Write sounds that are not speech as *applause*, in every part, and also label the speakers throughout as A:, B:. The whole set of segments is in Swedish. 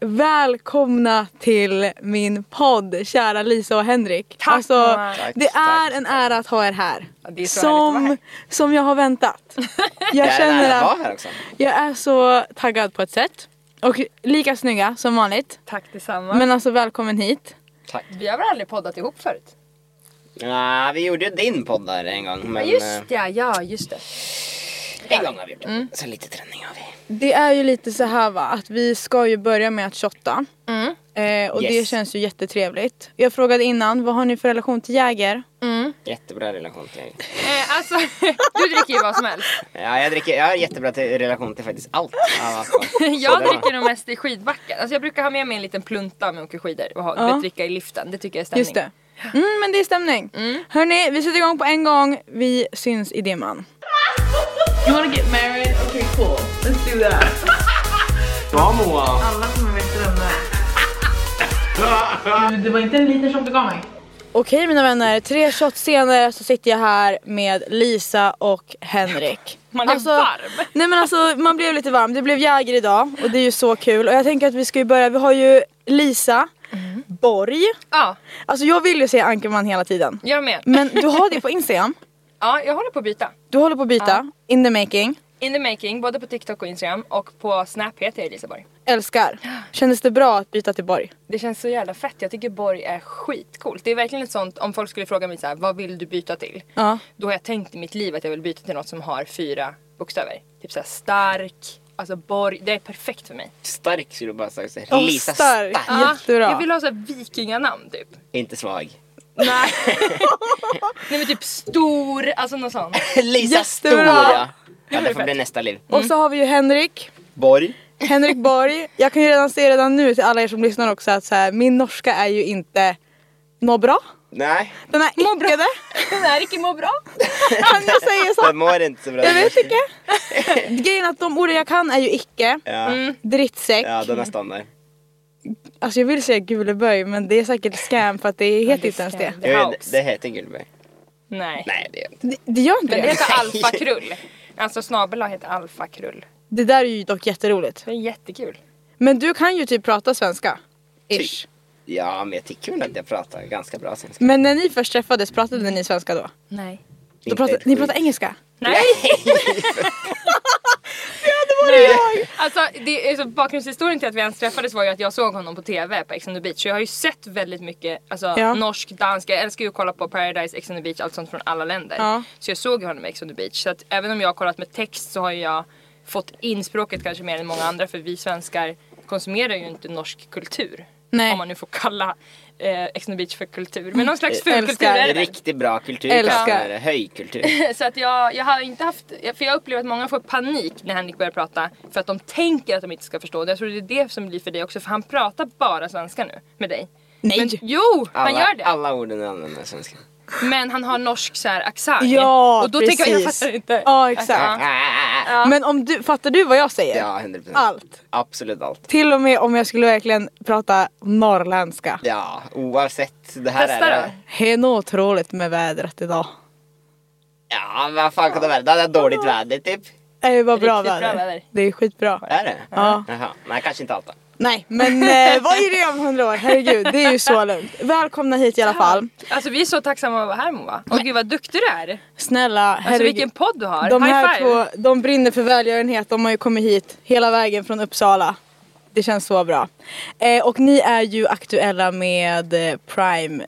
A: välkomna till min podd kära Lisa och Henrik. Alltså,
B: Tack, mamma.
A: det är en ära att ha er här.
B: det är så härligt att vara
A: som, som jag har
C: *laughs*
A: väntat. Jag
C: Jag är nära
A: känner
C: att vara
A: att
C: här också.
A: jag är så taggad på ett sätt. Och lika snygga som vanligt.
B: Tack detsamma.
A: Men alltså välkommen hit.
C: Tack.
B: vi har väl aldrig poddat ihop förut?
C: Ja, vi gjorde ju din podd där en gång. Men eh,
B: Just det, ja just det.
C: en gång har vi gjort det. Så lite träning har vi.
A: Det är ju lite så här va, att vi ska ju börja med att shotta.
B: Mm.
A: Eh, och det
C: Yes.
A: känns ju jättetrevligt. Jag frågade innan, vad har ni för relation till Jäger?
C: Jättebra relation till
B: Eh, alltså, *laughs* du dricker ju vad som *laughs* helst.
C: Ja, jag, dricker, jag har jättebra till, relation till faktiskt allt. av alkohol.
B: Jag
C: det var-
B: dricker nog mest i skidbacken. Alltså jag brukar ha med mig en liten plunta om jag åker skidor och ha,
A: Ja.
B: du vet, dricka i liften. Det tycker jag är stämning.
A: Just det. Mm, men det är stämning. Hörni, vi sätter igång på en gång. Vi syns i dimman. You wanna get married? Okay cool. Let's do that. Bra Moa. Alla kommer veta vem det är. det var inte en liten shot igång. Okej mina vänner, tre shots senare så sitter jag här med Lisa och *laughs* Henrik. Alltså,
B: Man är varm.
A: Nej men alltså man blev lite varm. Det blev Jäger idag och det är ju så kul. Och jag tänker att vi ska ju börja, vi har ju Lisa Borg.
B: Ja,
A: Alltså jag vill ju säga Ankerman hela tiden.
B: jag med.
A: Men du har det på Instagram.
B: Ja, jag håller på att byta.
A: Du håller på att byta. In the making.
B: In the making, både på TikTok och Instagram och på Snap heter jag Elisaborg.
A: Älskar. Kändes det bra att byta till Borg?
B: Det känns så jävla fett. Jag tycker Borg är skitcoolt. Det är verkligen ett sånt, om folk skulle fråga mig så här, vad vill du byta till?
A: Ja.
B: Då har jag tänkt i mitt liv att jag vill byta till något som har fyra bokstäver. Typ såhär stark, alltså Borg. Det är perfekt för mig.
C: Stark skulle du bara sagt. så här.
A: Åh,
C: Lisa
A: stark.
C: stark.
A: Ja. Jättebra.
B: Jag vill ha såhär vikinganamn typ.
C: Inte svag.
B: Nej. *laughs* Nej men typ stor, alltså något sånt.
C: Lisa stor
A: Jättebra.
C: ja.
B: Det
C: Ja,
B: var
C: det får
B: fett.
C: bli nästa liv.
A: Och så har vi ju Henrik.
C: Borg.
A: Henrik Borg. Jag kan ju redan se redan nu till alla er som lyssnar också att så här, min norska är ju inte nå bra.
C: Nej,
A: Den är inte det.
B: Den här Ricky mår bra.
A: *laughs* Kan jag säga
C: den
A: så?
C: mår inte så bra.
A: Jag vet inte. Grejen är att de orden jag kan är ju icke,
C: Ja,
A: Mm. drittsäck.
C: ja den är standard.
A: Alltså jag vill säga Guleböj men det är säkert scam för att det heter inte ens det.
B: The
C: Jag vet,
B: house.
C: det heter Gullberg.
B: Nej.
C: Nej, det gör det inte.
A: Det, det gör inte
B: Men det
A: det.
B: heter alfakrull. Alltså snabel heter alfakrull.
A: Det där är ju dock jätteroligt.
B: Det är jättekul.
A: Men du kan ju typ prata svenska.
C: Typ.
A: Ish.
C: Ja, men jag tycker väl att jag pratar ganska bra svenska.
A: Men när ni först träffades, pratade ni svenska då?
B: Nej.
A: då
C: Inte
A: pratade,
C: ett
A: ni
C: skit.
A: pratade engelska?
B: Nej!
A: *laughs* Det var jag!
B: Alltså, det, alltså bakgrundshistorien till att vi ens träffades var ju att jag såg honom på TV på Ex on the beach. Så jag har ju sett väldigt mycket alltså,
A: Ja.
B: norsk, dansk. Jag älskar ju att kolla på Paradise, Ex on the beach, allt sånt från alla länder.
A: Ja.
B: Så jag såg ju honom i Ex on the beach. Så att även om jag har kollat med text så har ju jag fått in språket kanske mer än många andra. För vi svenskar konsumerar ju inte norsk kultur.
A: Nej.
B: Om man nu får kalla eh, Ex on the beach för kultur. Men någon slags
A: Älskar.
B: fulkultur är det väl?
C: Riktigt bra kultur.
A: Älskar.
C: Älskar.
B: *laughs*
C: Höjkultur.
B: Så att jag, jag har inte haft, för jag upplever att många får panik när Henrik börjar prata för att de tänker att de inte ska förstå det. Jag tror det är det som blir för dig också för han pratar bara svenska nu med dig.
A: Nej.
B: Men, jo,
C: Alla,
B: han gör det.
C: alla orden du använder är svenska.
B: Men han har norsk så här accent.
A: Ja,
B: Och då
A: precis.
B: tänker jag, jag fattar inte.
A: Ja, exakt.
C: Ja, Ah,
A: Men om du, fattar du vad jag säger?
C: 100 procent.
A: Allt.
C: Absolut allt.
A: Till och med om jag skulle verkligen prata norrländska.
C: Ja, oavsett. Det här
B: Testa
C: är
B: då.
C: det.
A: Helt otroligt med vädret idag.
C: Ja, vad fan kan det vara? Det är dåligt väder typ.
A: Det är bara bra
B: Riktigt bra
A: väder.
B: väder.
A: Det är skitbra.
C: Är det?
A: Ja.
C: Jaha. Nej, kanske inte allt då.
A: Nej, men
B: *laughs*
A: eh, vad är det om hundra år? Herregud, det är ju så lugnt. Välkomna hit i alla fall.
B: Alltså vi är så tacksamma att vara här Moa. Och gud vad duktig du är.
A: Snälla,
B: Alltså
A: herregud.
B: vilken podd du har.
A: De
B: High
A: här
B: five.
A: två, de brinner för välgörenhet. De har ju kommit hit hela vägen från Uppsala. Det känns så bra. Eh, och ni är ju aktuella med eh, Prime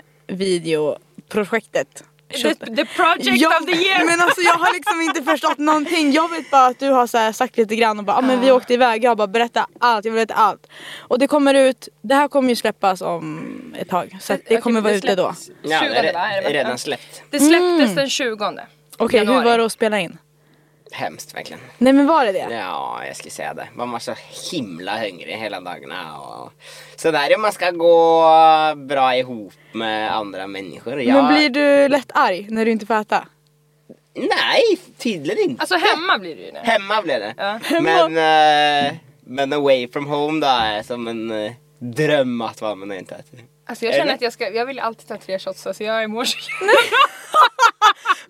A: Video-projektet.
B: The, the project
A: Jag-
B: of the year.
A: Men alltså jag har liksom inte förstått någonting. Jag vet bara att du har så här sagt lite grann och bara ah, men vi åkte iväg. Jag bara berätta allt, jag vill veta allt. Och det kommer ut, det här kommer ju släppas om ett tag. Så att det
B: Okej,
A: kommer vara ute då. Mm.
B: släpps 20
C: Ja, det
B: va?
C: är
B: Är det
C: re-
B: va?
C: redan släppt.
B: Det släpptes den 20.
A: Okej hur
B: januari.
A: var det att spela in?
C: Hemskt verkligen.
A: Nej men var det det?
C: Ja, jag skulle säga det. Man var så himla hungrig hela dagarna. Och... Så där är man ska gå bra ihop med andra människor. Jag...
A: Men blir du lätt arg när du inte får äta?
C: Nej, tydligen inte.
B: Alltså hemma blir det ju det.
C: Hemma blev det.
B: Ja.
C: Men, eh, men away from home då är som en eh, dröm att vara men det är inte att.
B: Alltså jag
C: Är
B: känner
C: det?
B: att jag ska, jag vill alltid ta tre shots alltså jag mår så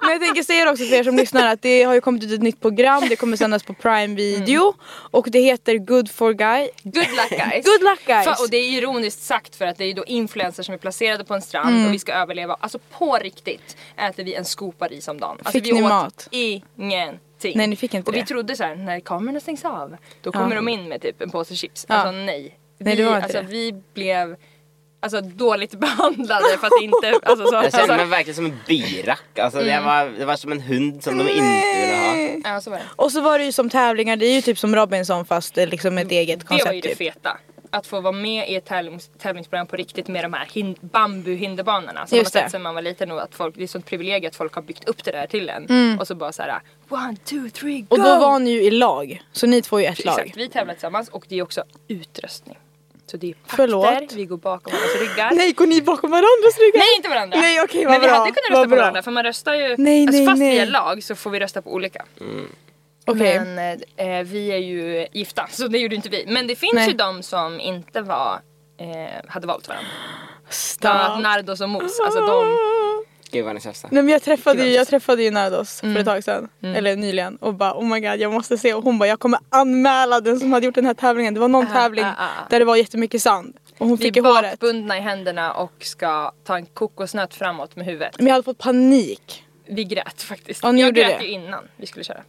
A: Men jag tänker säga det också för er som lyssnar att det har ju kommit ut ett nytt program, det kommer sändas på Prime Video
B: Mm.
A: och det heter Good for Guy.
B: *laughs* Good luck
A: *laughs*
B: guys!
A: Good luck guys!
B: Fa- och det är ironiskt sagt för att det är ju då influencers som är placerade på en strand
A: Mm.
B: och vi ska överleva. Alltså på riktigt äter vi en skopa ris om dagen. Alltså
A: Fick
B: vi
A: ni
B: åt
A: mat?
B: ingenting.
A: Nej, ni fick inte
B: och vi
A: det.
B: trodde så här: när kamerorna stängs av då kommer de in med typ en påse chips.
A: Ja.
B: Alltså nej.
A: Nej,
B: vi,
A: det var inte
B: alltså,
A: det.
B: vi blev alltså, dåligt *laughs* behandlade för
A: *laughs*
B: att inte... Alltså, så,
C: Jag kände mig
B: alltså,
C: verkligen som en byrack. Alltså,
A: Mm.
C: jag var, det var som en hund som de inte ville ha.
B: ja, så var det.
A: Och så var det ju som tävlingar, det är ju typ som Robinson fast det är liksom ett eget
B: Mm. Det
A: koncept.
B: var ju det
A: typ.
B: feta. Att få vara med i ett tävlings, tävlingsprogram på riktigt med de här hin, bambuhinderbanorna. Som man har
A: Just det.
B: sett sedan man var liten och att folk, det är sånt privilegium att folk har byggt upp det där till en. Och så bara såhär one, two, three, go!
A: Mm. Och då var ni ju i lag, så ni två är ju ett lag.
B: Exakt, vi tävlar tillsammans och det är också utröstning. Så det är pakter,
A: Förlåt.
B: vi går bakom varandras
A: *laughs*
B: ryggar.
A: Nej, går ni bakom varandras ryggar?
B: Nej, inte varandra!
A: Nej, okej, vad
B: Men vi
A: bra,
B: hade kunnat
A: vad
B: rösta på
A: bra.
B: varandra för man röstar ju,
A: Nej,
B: alltså,
A: nej,
B: fast vi
A: nej.
B: är lag så får vi rösta på olika.
A: Okej.
B: Men eh, vi är ju gifta så det gjorde inte vi. Men det finns
A: Nej.
B: ju de som inte var, eh, hade valt varandra. Bland annat
A: Stop.
B: Nardos och
A: Ah,
B: Mos. Alltså de,
C: Gud vad ni tjafsar.
A: Nej men jag träffade ju,
B: alltså.
A: jag träffade ju Nardos för
B: Mm.
A: ett tag sedan, eller nyligen och bara oh my god jag måste se och hon bara jag kommer anmäla den som hade gjort den här tävlingen. Det var någon tävling
B: ah, ah.
A: där det var jättemycket sand och hon
B: vi
A: fick i
B: är
A: håret.
B: bakbundna i händerna och ska ta en kokosnöt framåt med huvudet.
A: Men jag hade fått panik.
B: Vi grät faktiskt.
A: Ja, ni
B: jag
A: gjorde
B: grät
A: det.
B: ju innan vi skulle köra.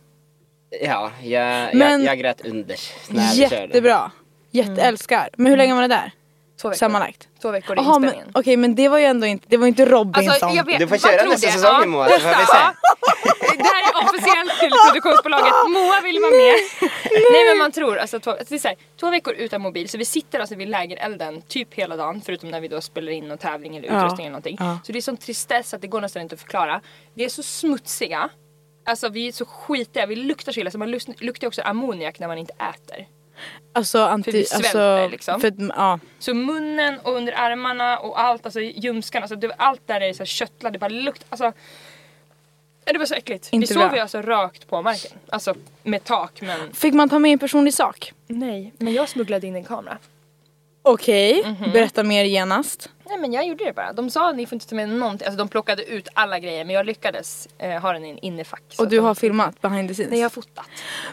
C: Ja, jag,
A: Men-
C: jag, jag grät under när vi körde.
A: Jättebra.
B: Mm.
A: Jätteälskar. Men hur länge var det där?
B: Två veckor.
A: Sammanlagt?
B: Två veckor i
A: Jaha men
B: inspelningen.
A: okej men det var ju ändå inte, det var ju inte Robinson.
B: Alltså jag vet,
C: Du får
B: vad
C: köra
B: tror
C: nästa
B: jag?
C: säsong
B: Ja,
C: Moa så får vi
B: nästa,
C: se.
B: ja. *laughs* Det här är officiellt till produktionsbolaget. Moa vill vara *laughs* med. Nej men man tror alltså, två, alltså det är så här, två veckor utan mobil så vi sitter alltså vid lägerelden typ hela dagen förutom när vi då spelar in någon tävling eller
A: Ja.
B: utrustning eller någonting.
A: Ja.
B: Så det är sån tristess att det går nästan inte att förklara. Vi är så smutsiga. Alltså vi är så skitiga, vi luktar så illa så man lus- luktar också ammoniak när man inte äter.
A: Alltså anti,
B: vi svälter,
A: alltså,
B: liksom.
A: För, att- ja.
B: Så munnen och under armarna och allt, alltså ljumskarna, alltså, det, allt där är så här köttlar, det bara lukt, alltså. Ja, Det var så äckligt.
A: Inte
B: vi
A: bra.
B: sov ju alltså rakt på marken. Alltså med tak men...
A: Fick man ta med en personlig sak?
B: Nej, men jag smugglade in en kamera.
A: Okej,
B: Mhm.
A: berätta mer genast.
B: Nej men jag gjorde det bara. De sa att ni får inte ta med någonting. Alltså de plockade ut alla grejer men jag lyckades eh, ha den i en innerfack. så
A: Och
B: att
A: du
B: de-
A: har filmat behind the scenes?
B: Nej jag har fotat.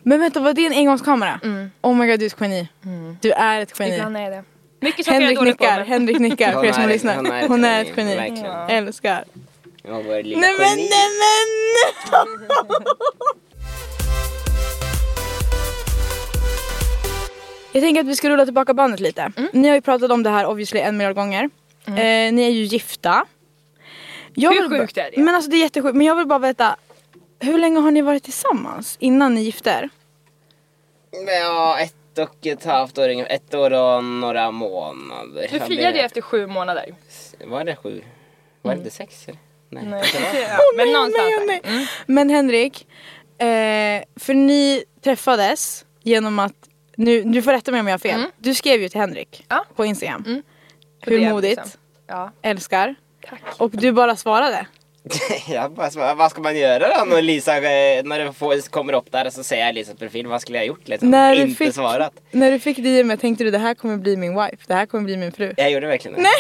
A: Men vänta, var det en engångskamera? Oh my god, du är ett geni. Du är ett geni.
B: Mm. Ibland är jag det. Mycket saker
A: Henrik
B: jag är dålig på
A: nickar,
B: men...
A: Henrik nickar för
C: Hon
A: er som
C: är-
A: lyssnar.
C: hon är ett
A: Hon är
C: geni,
A: ett geni.
C: verkligen. Ja.
A: Älskar.
C: Ja, vår lilla
A: Nej men,
C: geni.
A: nej men! Jag tänker att vi ska rulla tillbaka bandet lite. Ni har ju pratat om det här obviously en miljard gånger. Eh, ni är ju gifta. Jag
B: Hur
A: vill bara-
B: sjukt är det?
A: Men alltså det är jättesjukt. Men jag vill bara veta, hur länge har ni varit tillsammans innan ni gifte er?
C: Ja, ett och ett halvt år, ungefär. ett år och några månader.
B: Du
C: Ja,
B: friade
C: det-
B: ju efter sju månader.
C: Var det sju? Var det inte sex? Eller? Nej.
B: Nej,
C: det var-
B: ja, men någonstans
A: nej,
B: där. Mm.
A: nej. Men Henrik, eh, för ni träffades genom att, nu, du får rätta mig om jag har fel, du skrev ju till Henrik
B: Mm. Ja. Mm.
A: på Instagram.
B: På
A: Hur
B: DM,
A: modigt,
B: liksom. Ja,
A: älskar.
B: tack.
A: Och du bara svarade.
C: *laughs* Jag bara, så- vad ska man göra då när Lisa eh, när det får, kommer upp där och så ser jag Lisas profil, vad skulle jag gjort liksom?
A: När du
C: Inte
A: fick-
C: svarat.
A: När du fick DM tänkte du det här kommer bli min wife, det här kommer bli min fru.
C: Jag gjorde verkligen det. Nej!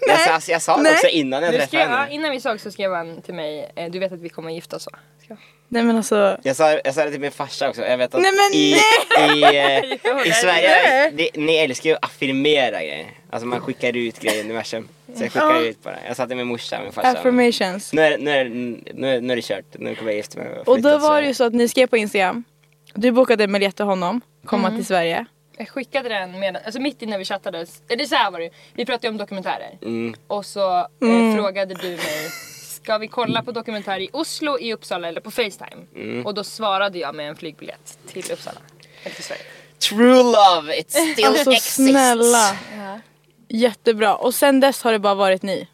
C: *laughs* Jag, sa- alltså, jag sa det
A: Nej.
C: också innan jag
B: Du
C: träffade
B: skrev, ja,
C: henne.
B: innan vi såg så skrev han till mig, eh, du vet att vi kommer att gifta oss va? Skrev han.
A: Nej men alltså,
C: Jag sa, jag sa det till min farsa också, jag vet att
A: Nej, men
C: i,
A: *laughs*
C: i, eh,
B: Jo,
C: i
B: nej,
C: Sverige,
A: nej.
C: det, ni älskar ju att affirmera grejer. Alltså man skickar ut grejer i universum. Så jag skickar ut bara. Jag sa till min morsa och min farsa.
A: affirmations.
C: Nu är, nu, är, nu, är, nu är det kört, nu kommer jag gifta mig.
A: Och då var det ju så att ni skrev på Instagram, du bokade en biljett till honom, komma
B: Mm.
A: till Sverige.
B: Jag skickade den medan, alltså mitt innan vi chattade, eller så här var det ju, vi pratade ju om dokumentärer.
C: Mm.
B: Och så eh, frågade du mig, ska vi kolla på dokumentär i Oslo, i Uppsala eller på Facetime?
C: Mm.
B: Och då svarade jag med en flygbiljett till Uppsala. Eller till Sverige.
C: True love, it still
A: Alltså
C: exists.
A: snälla. Jättebra. Och sen dess har det bara varit ni.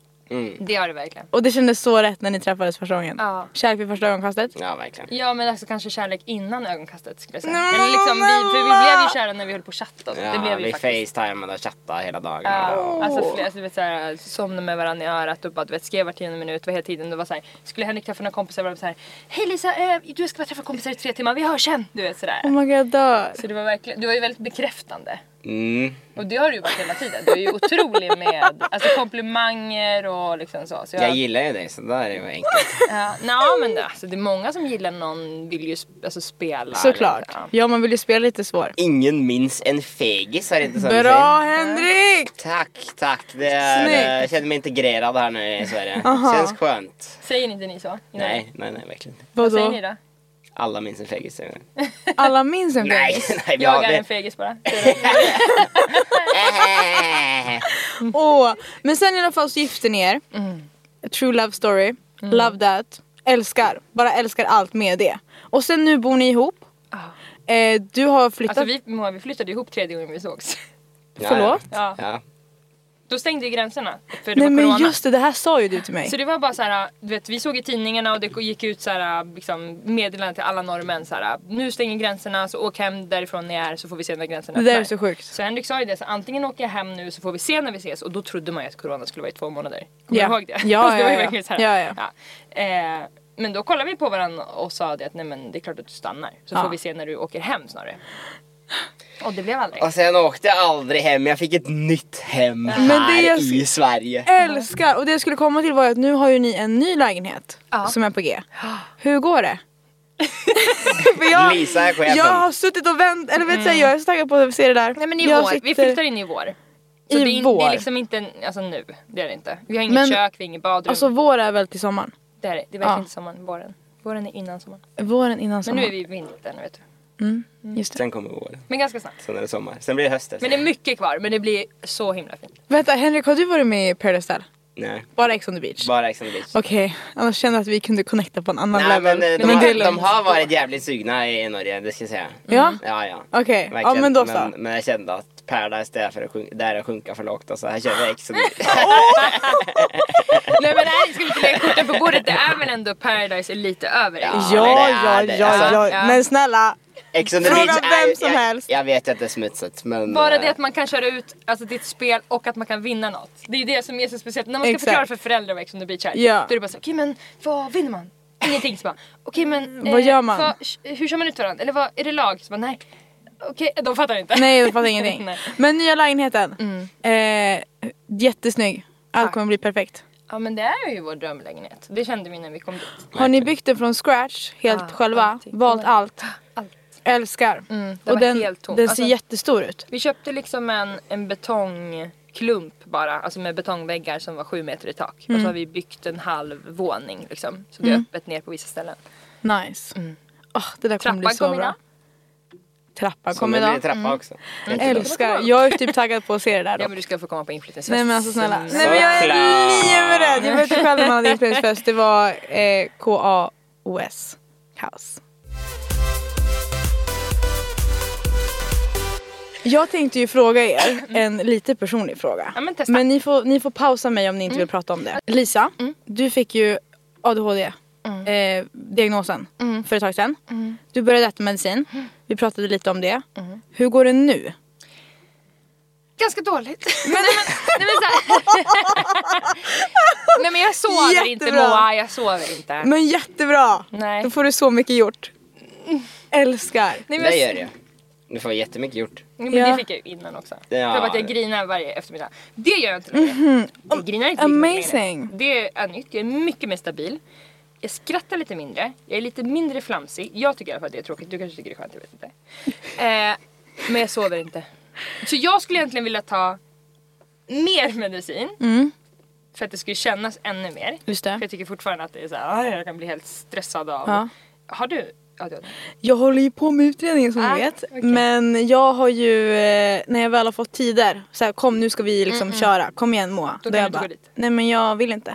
B: Det har det verkligen.
A: Och det kändes så rätt när ni träffades första gången.
B: Ja.
A: Kärlek vid första ögonkastet.
C: Ja, verkligen.
B: Ja men alltså kanske kärlek innan ögonkastet skulle jag säga.
A: Nej, men
B: Eller liksom, vi, för vi blev ju kära när vi höll på och chatta.
C: Ja,
B: det blev vi,
C: vi
B: faktiskt.
C: facetimade och chattade hela dagen.
B: Ja,
C: Ja.
B: alltså flera, alltså, du vet, såhär, somnade med varandra i örat och bara du vet, skrev var tionde minut var hela tiden. Det var såhär, skulle Henrik träffa några kompisar var det såhär Hej Lisa, eh, du jag ska bara träffa kompisar i tre timmar, vi hörs sen! Du vet sådär.
A: Oh my god, jag dör.
B: Så det var verkligen, du var ju väldigt bekräftande.
C: Mm.
B: Och det har du ju varit hela tiden. Du är ju otrolig med alltså, komplimanger och liksom så. så
C: Jag gillar ju dig så där är det enkelt.
B: Ja, nej men det, alltså, det är många som gillar någon vill ju sp- alltså, spela.
A: Såklart.
B: Eller, ja.
A: Ja, man vill ju spela lite svår.
C: Ingen minns en fegis, är det inte så du säger?
A: Bra Henrik!
C: Tack, tack. Det är,
A: Snyggt.
C: eh, jag känner mig integrerad här nu i Sverige.
A: Aha.
C: Känns skönt.
B: Säger inte ni så?
C: Nej, nej, nej, verkligen inte.
B: Vad säger ni *laughs*
A: Vadå?
B: då?
C: Alla minns en fegis. säger vi.
A: Alla minns en
C: *laughs* Nej,
A: fegis?
C: *laughs* nej. vi har-
B: Jag är en fegis bara. Säger de.
A: Åh, men sen i alla fall så gifte ni er.
B: Mm.
A: True love story. Love that. Älskar. Bara älskar allt med det. Och sen nu bor ni ihop. Eh, du har flyttat.
B: Alltså vi, Moa, vi flyttade ihop tredje gången vi sågs.
C: Ja,
A: Förlåt?
C: Ja.
B: Ja.
C: Ja.
B: Då stängde ju gränserna. För det
A: Nej
B: var
A: men
B: corona.
A: just det, det här sa ju du till mig.
B: Så det var bara så här, du vet, vi såg i tidningarna och det gick ut så här, liksom, meddelanden till alla norrmän så här, nu stänger gränserna så åk hem därifrån ni är så får vi se när gränserna
A: Det där är
B: öppnar."
A: så sjukt.
B: Så Henrik sa ju det, så antingen åker jag hem nu så får vi se när vi ses och då trodde man ju att corona skulle vara i två månader. Kommer
A: Ja.
B: du ihåg det?
A: Ja,
B: Alltså, det var ju
A: ja, ja.
B: verkligen *laughs* så här,
A: Ja, ja.
B: ja. Eh, men då kollade vi på varandra och sa det att nej men det är klart att du stannar så
A: Ja.
B: får vi se när du åker hem snarare. Och det blev aldrig.
C: Och sen åkte jag aldrig hem. Jag fick ett nytt hem här
A: det jag
C: i Sverige.
A: Älskar! Och det jag skulle komma till var ju att nu har ju ni en ny lägenhet
B: Ja.
A: som är på G. Hur går det? För jag,
C: Lisa är chefen.
A: jag har suttit och vänt, eller vet du jag är så taggad på att se det där.
B: Mm. Nej men i
A: jag
B: vår, vi
A: sitter-
B: flyttar in i vår. Så
A: I
B: det, är in, det
A: vår?
B: är liksom inte en, alltså nu, det är det inte. Vi har inget
A: Men-
B: kök, vi har inget badrum.
A: Alltså vår är väl till sommaren?
B: det är det, det är verkligen
A: ja.
B: inte sommaren, våren. Våren är innan sommaren.
A: Våren innan
B: Men
A: sommaren.
B: nu är vi i vintern vet du.
A: Just det.
C: Sen kommer våren.
B: Men ganska snabbt.
C: Sen är det sommar. Sen blir det höst. efter
B: Men det är mycket kvar men det blir så himla fint.
A: Vänta Henrik, har du varit med i Paradise Hotel?
C: Nej,
A: Bara Ex on the beach?
C: bara Ex on the beach.
A: Okej, annars kände jag att vi kunde connecta på en annan
C: Nej, men,
A: level.
C: eh, de,
A: det är
C: har, de
A: lugnt.
C: har varit jävligt sugna i Norge, det ska jag säga. Mm.
A: Ja?
C: Ja, ja.
A: Okej, ja,
C: Verkligen.
A: men då så.
C: men, men jag kände att Paradise, det är, för att sjunka, det är att sjunka för lågt. Alltså. Här känner jag Ex on
A: *laughs*
C: the beach.
B: Nej men nej, ska vi inte lägga korten på bordet? Det är väl ändå Paradise är lite över
C: Ja.
A: Ja,
C: men det
A: ja,
C: är alltså-
A: ja, ja,
C: det.
B: Ja.
A: Men snälla!
C: Ex on the
A: Fråga
C: beach är,
A: vem som
C: jag,
A: helst.
C: Jag vet ju att det är smutsigt men...
B: Bara
C: eh,
B: det att man kan köra ut alltså, ditt spel och att man kan vinna något. Det är ju det som är så speciellt. När man ska
A: Exakt.
B: förklara för föräldrar vad Ex on the beach är.
A: Ja.
B: Då är det bara så, okej men vad vinner man? Ingenting. Så bara, okej men eh,
A: Vad gör man?
B: hur kör man ut varandra? Eller vad, är det lag? Så bara, nej. Okej, de fattar inte.
A: Nej, jag fattar ingenting.
B: *laughs* Nej. Mm.
A: Men nya lägenheten. Eh, jättesnygg. Allt
B: Tack.
A: kommer bli perfekt.
B: Ja men det är ju vår drömlägenhet. Det kände vi när vi kom dit.
A: Har ni byggt den från scratch helt
B: Ah,
A: själva?
B: allting.
A: Valt
B: Ja.
A: allt?
B: Allt.
A: Älskar.
B: Mm, den
A: Och
B: var
A: den,
B: helt tom.
A: den ser
B: Alltså-
A: jättestor ut.
B: Vi köpte liksom en, en betongklump bara, alltså med betongväggar som var sju meter i tak. Och så
A: Mm.
B: har vi byggt en halv våning liksom. Så det är öppet ner på vissa ställen.
A: Nice. Ah, det där kommer bli
B: Trappan
A: så
B: kom
A: bra.
B: idag.
A: Trappan
C: Som
A: kommer
C: en ny
A: idag.
C: trappa också.
A: Älskar. Mm. Jag är typ taggad på att se det där då.
B: Ja men du ska få komma på inflyttningsfest.
A: Nej men alltså snälla.
B: sen.
A: Nej men jag är
C: Såklart.
A: livrädd. Jag vet inte själv när man hade
B: *laughs*
A: influensfest. Det var eh, K-A-O-S. Kaos. Jag tänkte ju fråga er en lite personlig fråga.
B: Ja, men testa. Mm.
A: men ni, får, ni får pausa mig om ni inte vill prata om det. Lisa, du fick ju ADHD.
B: Mm.
A: Eh, diagnosen för ett tag sedan. Du började äta medicin. Vi pratade lite om det.
B: Mm.
A: Hur går det nu?
B: Ganska dåligt. Men, nej, men, nej, men, så här.
A: *laughs*
B: nej men jag sover inte
A: Jättebra.
B: Moa, jag sover inte.
A: Men jättebra!
B: Nej. Mm.
A: Då får du så mycket gjort. Älskar.
B: nej, men,
C: Det gör jag. Du får jättemycket gjort.
B: Men
A: Ja.
B: det fick jag ju innan också.
C: Ja.
B: För att jag grinar varje eftermiddag. Det gör jag inte längre. Jag grinar inte lika mycket längre.
A: Mhm. Amazing.
B: Det är nytt. Jag är mycket mer stabil. Jag skrattar lite mindre. Jag är lite mindre flamsig. Jag tycker i alla fall att det är tråkigt. Du kanske tycker det är skönt, jag vet inte. Eh, men jag sover inte. Så jag skulle egentligen vilja ta mer medicin.
A: Mm.
B: För att det skulle kännas ännu mer.
A: Just
B: För
A: det.
B: jag tycker fortfarande att det är så här, "Aj, jag kan bli helt stressad av.
A: Ja.
B: Har du? Ja, du har det.
A: Jag håller ju på med utredningen som
B: Ah,
A: ni vet.
B: okej.
A: Men jag har ju, eh, när jag väl har fått tider, så här, kom nu ska vi liksom köra, kom igen Moa.
B: Mm, Då kan
A: jag
B: du inte
A: bara,
B: gå dit.
A: nej men jag vill inte.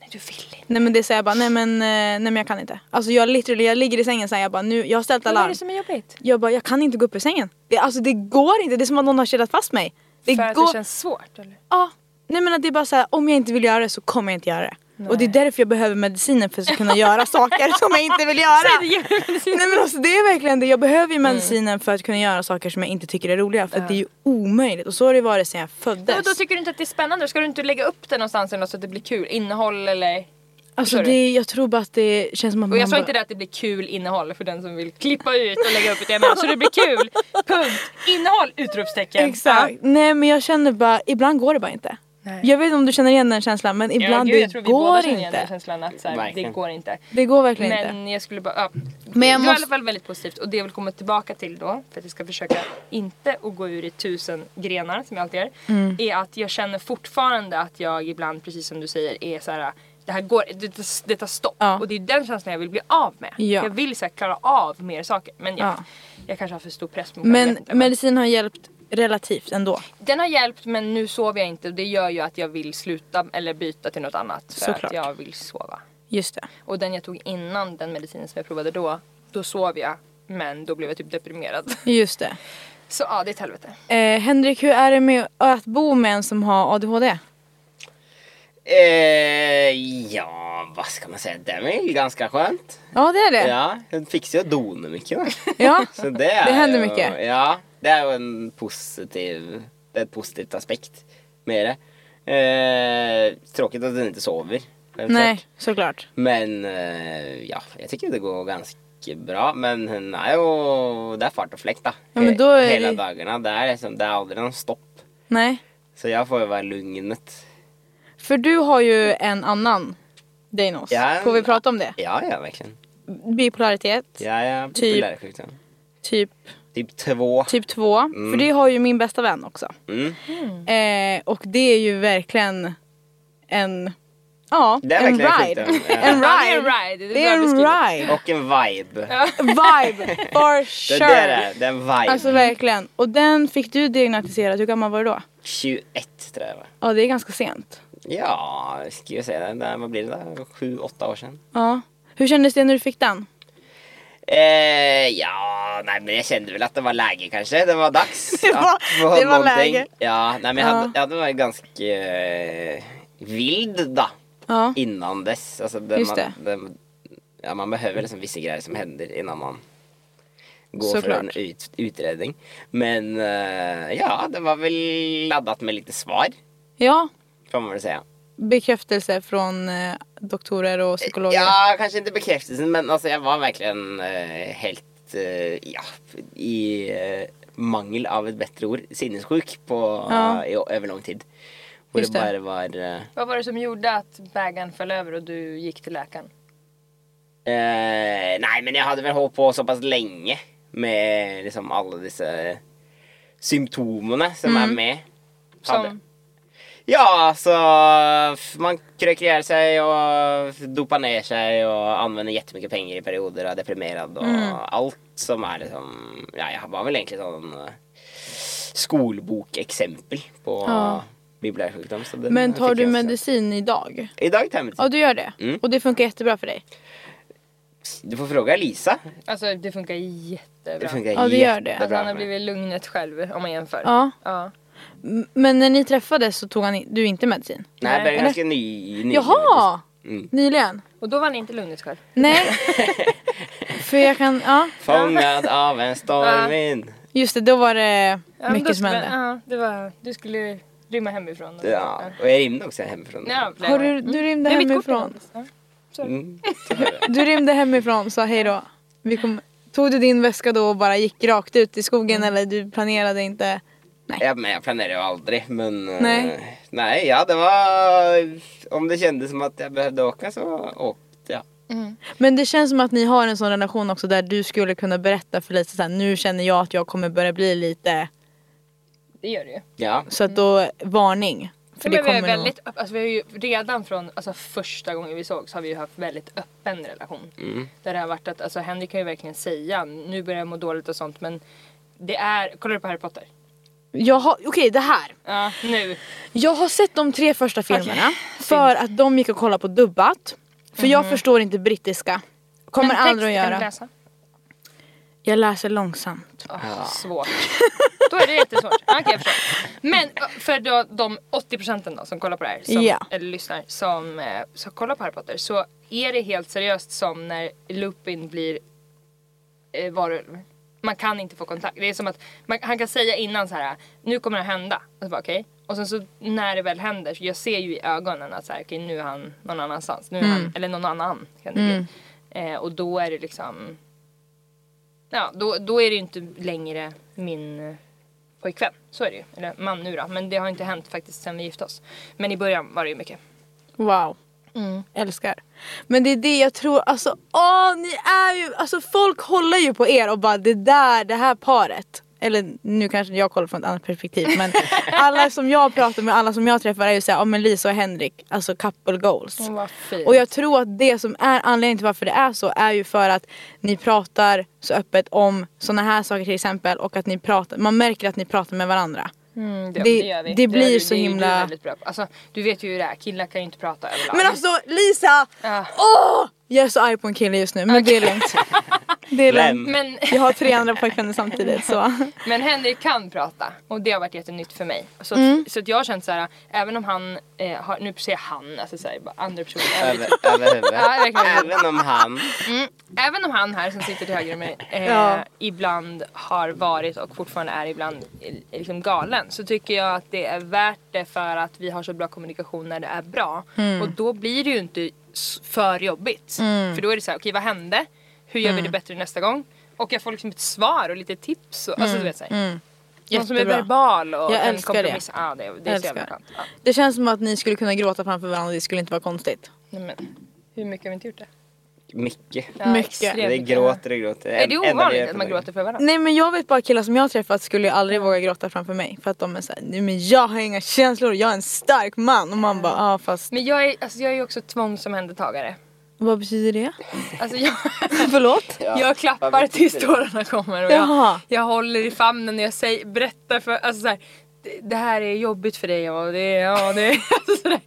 B: Nej, du vill inte.
A: Nej men det säger jag bara, nej men, eh, nej men jag kan inte. Alltså jag literally, jag ligger i sängen så här, jag bara nu, jag har ställt
B: Vad är
A: alarm.
B: det som är jobbigt?
A: Jag bara, jag kan inte gå upp ur sängen. Det, alltså det går inte, det är som att någon har kedjat fast mig. Det
B: För att
A: går,
B: det känns svårt eller?
A: ja. Nej men att det är bara så här, om jag inte vill göra det så kommer jag inte göra det. Och det är därför jag behöver medicinen för att kunna
B: *laughs*
A: göra saker som jag inte vill göra. Nej men alltså det är verkligen det, jag behöver ju
B: Mm.
A: medicinen för att kunna göra saker som jag inte tycker är roliga för att det är ju omöjligt och så har det varit sedan jag föddes.
B: Men då tycker du inte att det är spännande? Ska du inte lägga upp det någonstans eller något så att det blir kul? Innehåll eller?
A: alltså
B: förstår du?
A: det, jag tror bara att det känns som att
B: Och jag
A: man
B: sa
A: bara,
B: inte det att det blir kul innehåll för den som vill klippa ut och lägga upp ett men så det blir kul. Punkt. Innehåll! Utropstecken.
A: Exakt.
B: Ja.
A: Nej men jag känner bara, ibland går det bara inte.
B: Nej.
A: Jag vet inte om du känner igen den känslan men
B: Ja,
A: ibland
B: gud,
A: det går inte.
B: den känslan att så här, det
C: Verkligen.
B: går inte.
A: Det går verkligen inte.
B: Men jag skulle bara, ja.
A: Men jag
B: det var i
A: måste-
B: alla fall väldigt positivt och det jag vill komma tillbaka till då, för att jag ska försöka inte att gå ur i tusen grenar som jag alltid gör,
A: Mm.
B: är att jag känner fortfarande att jag ibland, precis som du säger, är så här. Det här går, det, det- det tar stopp.
A: Ja.
B: Och det är den känslan jag vill bli av med.
A: Ja.
B: Jag vill så här, klara av mer saker. Men jag,
A: Ja.
B: jag kanske har för stor press på mig. jag vet
A: Men
B: inte, men
A: medicin har hjälpt relativt ändå.
B: Den har hjälpt men nu sover jag inte och det gör ju att jag vill sluta eller byta till något annat. För
A: Såklart.
B: att jag vill sova.
A: Just det.
B: Och den jag tog innan den medicinen som jag provade då, då sov jag. Men då blev jag typ deprimerad. *laughs*
A: Just det.
B: Så ja, det är ett helvete.
A: Eh, Henrik, hur är det med att bo med en som har ADHD?
C: Eh, ja, vad ska man säga? Det är väl ganska skönt.
A: Ja, det är det.
C: Ja, jag fixar ju och donar mycket. då.
A: Ja.
C: *laughs* Så det, är
A: Det händer
C: ju-
A: mycket.
C: Ja, det är ju en positiv, det är ett positivt aspekt med det. Eh, tråkigt att den inte sover. självklart.
A: Nej, såklart.
C: Men eh, ja, jag tycker det går ganska bra. Men hon är ju, det är fart och fläkt då.
A: Ja, men då är
C: Hela
A: det-
C: dagarna. Det är, liksom, det är aldrig någon stopp.
A: Nej.
C: Så jag får ju vara lugnet.
A: För du har ju en annan diagnos.
C: Ja.
A: Får vi prata om det?
C: Ja, ja verkligen.
A: Bipolaritet,
C: Jag är
A: Typ-
C: populärsjukdom.
A: typ,
C: Typ två.
A: typ 2. För det har ju min bästa vän också.
C: Mm.
A: Eh, och det är ju verkligen en... Ja,
C: Det är
A: en
C: verkligen
A: ride.
C: sjukt, ja.
A: En
B: Ja, det
A: ride.
B: är en ride. Det är
A: Det är
B: bra
A: en
B: beskrivet.
A: ride.
C: Och en vibe.
A: Vibe, for
C: *laughs* Det
A: sure.
C: där är, det är en vibe.
A: Alltså verkligen. Och den fick du diagnostiserad, hur gammal var du då?
C: 21 tror jag det var.
A: Ja det är ganska sent.
C: Ja, ska jag säga det? Där, vad blir det där? Sju, åtta år sedan.
A: Ja. Hur kändes det när du fick den?
C: Eh, ja, nej men jag kände väl att det var läge kanske. Det var
A: *laughs*
C: dags.
A: Det var-
C: att få
A: det var
C: någonting.
A: läge.
C: Ja, nej men jag
A: Ja.
C: hade, jag hade varit ganska eh, vild då.
A: Ja.
C: Innan dess. Alltså, det,
A: Just
C: man, det, ja, man behöver liksom vissa grejer som händer innan man går för
A: Såklart.
C: en ut, utredning. Men eh, ja, det var väl laddat med lite svar.
A: Ja.
C: Får man väl säga.
A: Bekräftelse från eh, doktorer och psykologer.
C: Ja, kanske inte bekräftelsen men alltså jag var verkligen eh, helt eh, ja, i eh, mangel av ett bättre ord, sinnessjuk på,
A: Ja.
C: i, över lång tid. Hvor
A: Just
C: det
A: det.
C: bara var eh,
B: Vad var det som gjorde att bägaren föll över och du gick till läkaren?
C: eh, Nej, men jag hade väl hållit på så pass länge med liksom alla dessa symptomerna som
A: Mm.
C: är med. Hade-
B: Som,
C: Ja, alltså f- man kröker ihjäl sig och dopar ner sig och använder jättemycket pengar i perioder och är deprimerad och
A: Mm.
C: allt som är liksom, ja jag var väl egentligen sån eh, skolbokexempel på
A: Ja.
C: bipolär sjukdom. Så den
A: Men tar
C: fick
A: du
C: jag så-
A: medicin idag?
C: Idag tar jag medicin.
A: Ja du gör det.
C: Mm.
A: Och det funkar jättebra för dig?
C: Du får fråga Lisa.
B: alltså det funkar
C: Det
B: jättebra.
C: funkar
A: Ja, det gör det.
C: jättebra
B: Alltså han har
C: med.
B: blivit lugnet själv om man jämför.
A: Ja.
B: ja.
A: M- Men när ni träffades så tog han i- du inte medicin?
C: Nej, jag
A: Eller?
C: började ganska ny, ny.
A: Jaha!
C: Mm.
A: Nyligen?
B: Och då var han inte lugnet själv.
A: Nej. för jag kan, ja.
C: Fångad av en stormvind.
A: Just det, då var det
B: Ja, men då
A: mycket som
B: skulle-
A: hände.
B: Ja, det var, du skulle rymma hemifrån. och-
C: Ja, och jag rymde också hemifrån.
B: ja flera
A: Har
B: gånger.
A: du,
B: Mm.
A: du rymde
B: Nej, mitt kort är
A: hemifrån?
B: någonstans. Ja.
C: Mm, så var det.
A: Du rymde hemifrån sa hej då. Vi kom, tog du din väska då och bara gick rakt ut i
B: Mm.
A: skogen eller du planerade inte?
C: Ja, men jag planerar ju aldrig, men... eh,
A: Nej.
C: nej, ja det var... Om det kändes som att jag behövde åka så åkte jag.
A: Men det känns som att ni har en sån relation också där du skulle kunna berätta för Lisa såhär nu känner jag att jag kommer börja bli lite
B: Det gör det ju.
C: Ja.
A: så att då varning. För det
B: Mm. men vi
A: kommer
B: är
A: nog.
B: väldigt öpp- alltså, vi har ju redan från alltså, första gången vi sågs har vi ju haft väldigt öppen relation.
A: Mm.
B: Där det har varit att alltså, Henrik kan ju verkligen säga nu börjar jag må dåligt och sånt men det är, kollar du på Harry Potter?
A: Jag har, okej det här.
B: Ja, nu.
A: Jag har sett de tre första filmerna för att de gick och kollade på dubbat. För jag förstår inte brittiska. Kommer
B: Mhm. Men text
A: aldrig att
B: kan du
A: göra.
B: läsa.
A: Jag läser långsamt.
B: Åh, Ah, Svårt. Då är det jättesvårt. Ja, Okej, jag förstår. Men ö, för då, de 80 procenten då som kollar på det här, som,
A: Ja.
B: eller lyssnar, som, eh, som kollar på Harry Potter så är det helt seriöst som när Lupin blir eh, varulv. Man kan inte få kontakt. Det är som att man, han kan säga innan så här, nu kommer det hända. Och så bara okej. Och sen så när det väl händer, så jag ser ju i ögonen att så här, okej nu är han någon annanstans. Nu är han, eller någon annan kan det bli. Eh, och då är det liksom Ja, då, då är det ju inte längre min eh, pojkvän. Så är det ju. Eller man nu då. Men det har inte hänt faktiskt sen vi gifte oss. Men i början var det ju mycket.
A: Wow. Älskar. Men det är det jag tror, alltså åh ni är ju, alltså folk håller ju på er och bara det där, det här paret. Eller nu kanske jag kollar från ett annat perspektiv men alla som jag pratar med, alla som jag träffar är ju såhär, ja men Lisa och Henrik, alltså couple goals.
B: Mm, Vad fint.
A: Och jag tror att det som är anledningen till varför det är så är ju för att ni pratar så öppet om sådana här saker till exempel och att ni pratar, man märker att ni pratar med varandra.
B: mm,
A: det- det
B: gör
A: blir
B: du.
A: så
B: är ju du
A: himla-
B: väldigt bra på. Alltså, du vet ju hur det är. Killar kan ju inte prata överlag.
A: Men alltså Lisa!
B: Ja.
A: Åh! Jag är så arg på en kille just nu men det är lugnt. Det är
C: Vem?
A: lugnt.
B: men, *laughs*
A: Jag har tre andra pojkvänner samtidigt så.
B: men Henrik kan prata. Och det har varit jättenytt för mig. Så att, så att jag har känt så här, även om han eh, har, nu säger jag han, alltså så här, bara andra personer.
C: Över, över huvudet.
B: *laughs* Ja, verkligen.
C: Även om han
B: Även om han här som sitter till höger om mig
A: *laughs*
B: eh,
A: Ja.
B: ibland har varit och fortfarande är ibland eh, liksom galen så tycker jag att det är värt det för att vi har så bra kommunikation när det är bra.
A: Mm.
B: Och då blir det ju inte s- för jobbigt. För då är det så här, okej vad hände? Hur gör
A: Mm.
B: vi det bättre nästa gång? Och jag får liksom ett svar och lite tips. Och, Alltså du vet såhär. Någon som är
A: Mm. Jättebra.
B: verbal och
A: Jag
B: kan
A: älskar det.
B: kompromissa. Ja, det, det är så
A: Älskar.
B: jävla skönt. Ja.
A: *laughs* Det känns som att ni skulle kunna gråta framför varandra det skulle inte vara konstigt.
B: Nej, men, hur mycket har vi inte gjort det?
C: mycket.
B: Ja,
A: Mycket.
B: extremt
C: Det
B: mycket.
C: gråter och gråter.
B: Är det
C: Enda vi gör
B: ovanligt
C: på
B: att man
C: dagen.
B: gråter för varandra?
A: Nej men jag vet bara killar som jag har träffat skulle ju aldrig våga gråta framför mig för att de är såhär, nej men jag har inga känslor, jag är en stark man och man bara, ja ah, fast
B: Men jag är, alltså jag är ju också tvångsomhändertagare.
A: vad betyder det?
B: Alltså jag,
A: *laughs* Förlåt?
C: Ja.
B: jag
C: Vad
B: klappar
C: betyder
B: tills
C: det?
B: tårarna kommer och jag,
A: Jaha.
B: jag håller i famnen och jag säger, berättar för, alltså så här, "Det- det här är jobbigt för dig och det, ja det, *laughs* alltså så där.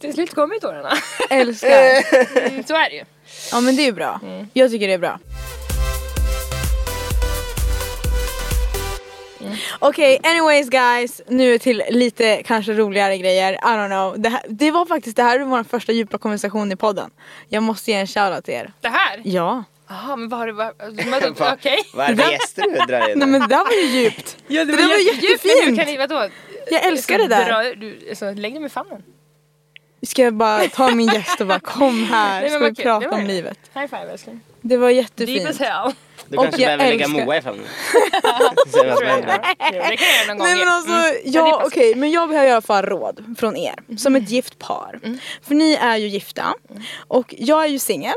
B: Till slut kommer ju tårarna.
A: Älskar.
B: Mm, så är det ju.
A: Ja men det är ju bra.
B: Mm.
A: Jag tycker det är bra.
B: Mm.
A: Okej, anyways guys. Nu till lite kanske roligare grejer. I don't know. Det, här, det var faktiskt det här är vår första djupa konversation i podden. Jag måste ge en shoutout till er.
B: Det här?
A: Ja.
B: Jaha men vad har du, vad- vad-
C: *laughs* Va-
B: okej.
C: Vad är det för gäster du drar in?
A: Nej men det där var ju djupt.
B: Ja,
A: det var
B: jättedjupt, men
A: jättefint.
B: Du kan, ju- vadå?
A: Jag älskar det där.
B: Dra, du, alltså, lägg dig med famnen.
A: Ska jag bara ta min gäst och bara kom här.
B: Nej, men
A: Ska
B: vad
A: vi
B: kul. Det
A: prata
B: var
A: om
B: det.
A: livet.
B: High five älskling.
A: Det var
B: Deep as
A: jättefint.
B: hell.
C: Du
A: Och
C: kanske
A: jag
C: behöver lägga
A: älskar-
C: Moa
B: *laughs*
C: i famnen. Se vad som
B: Tror jag.
C: händer.
B: Det kan jag göra någon gång.
A: Nej men
B: igen.
A: alltså,
B: Mm. det Mm.
A: ja,
B: passar.
A: okej men jag behöver i alla fall råd från er som ett gift par. För ni är ju gifta
B: Mm.
A: och jag är ju singel.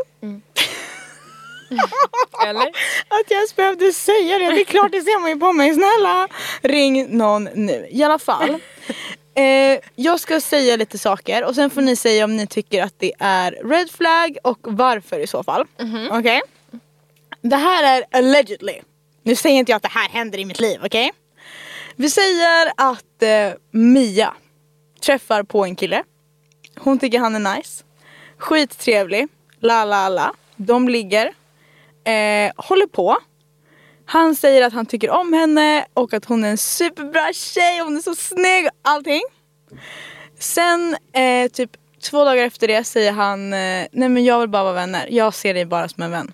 B: Eller?
A: Att jag ens behövde säga det, det är klart det ser man ju på mig. Snälla ring någon nu. I alla fall. Eh, jag ska säga lite saker och sen får ni säga om ni tycker att det är red flag och varför i så fall. Okej? Det här är allegedly. Nu säger inte jag att det här händer i mitt liv, okej? Vi säger att eh, Mia träffar på en kille. Hon tycker han är nice. Skittrevlig. La la la. De ligger. Eh, håller på. Han säger att han tycker om henne och att hon är en superbra tjej. Hon är så snygg och allting. Sen eh, typ två dagar efter det säger han eh, Nej men jag vill bara vara vänner. Jag ser dig bara som en vän.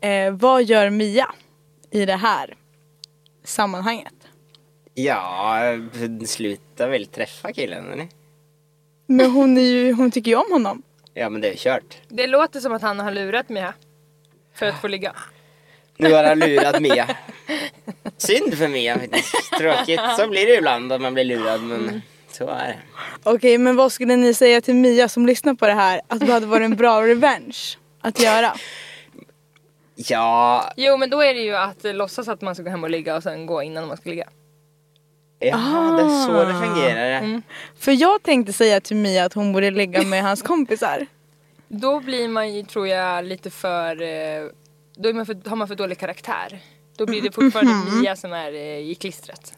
A: Eh, vad gör Mia i det här sammanhanget?
C: Ja, sluta väl träffa killen eller?
A: Men hon, är ju, hon tycker ju om honom.
C: Ja men det är kört.
B: Det låter som att han har lurat mig här. För att få ligga.
C: Nu har han lurat Mia. Synd för Mia faktiskt. Tråkigt. Så blir det ibland att man blir lurad
B: Mm.
C: men så är det.
A: Okej, men vad skulle ni säga till Mia som lyssnar på det här? Att det hade varit en bra *laughs* revenge att göra?
C: Ja,
B: Jo men då är det ju att eh, låtsas att man ska gå hem och ligga och sen gå innan man ska ligga.
C: ja det är så
B: Ah.
C: det fungerar.
B: Mm.
A: För jag tänkte säga till Mia att hon borde ligga med hans kompisar.
B: Då blir man ju tror jag lite för... eh, Då är man för, har man för dålig karaktär. Då blir det fortfarande
A: Mm.
B: Mia som är eh, i klistret.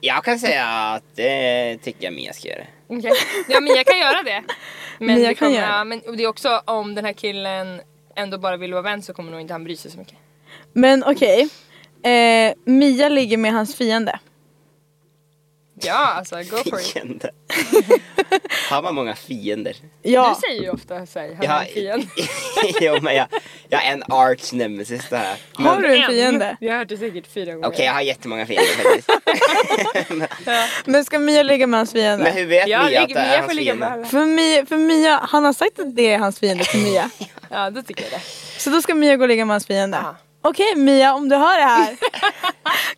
C: Jag kan säga att det tycker jag Mia ska göra.
B: Okej. Ja Mia kan göra det. Men
A: Mia
B: det
A: kan
B: kommer,
A: göra det.
B: ja, men och det är också om den här killen ändå bara vill vara vän så kommer nog inte han bry sig så mycket.
A: Men okej. Eh, Mia ligger med hans fiende.
B: Ja, alltså go for it.
C: Fiende. Har man många fiender?
A: Ja.
B: Du säger ju ofta såhär, han är
C: Jag har,
B: en fiende.
C: *laughs*
B: Ah.
C: jo, men jag, jag är en arch nemesis det här. Men-
A: Har du en fiende?
B: Jag hörde säkert fyra gånger.
C: Okej, jag har jättemånga fiender faktiskt.
A: Men ska Mia ligga med hans fiende?
C: Men hur vet
B: Jag,
C: Mia
B: ligger-
C: att det
B: men
C: är
B: jag får
C: hans
B: ligga med
C: fiende?
B: alla.
A: För Mia, för Mia, han har sagt att det är hans fiende till Mia.
B: Ja, då tycker jag det.
A: Så då ska Mia gå och ligga med hans fiende.
B: Ja.
A: Okej Mia, om du hör det
B: *laughs*
A: här.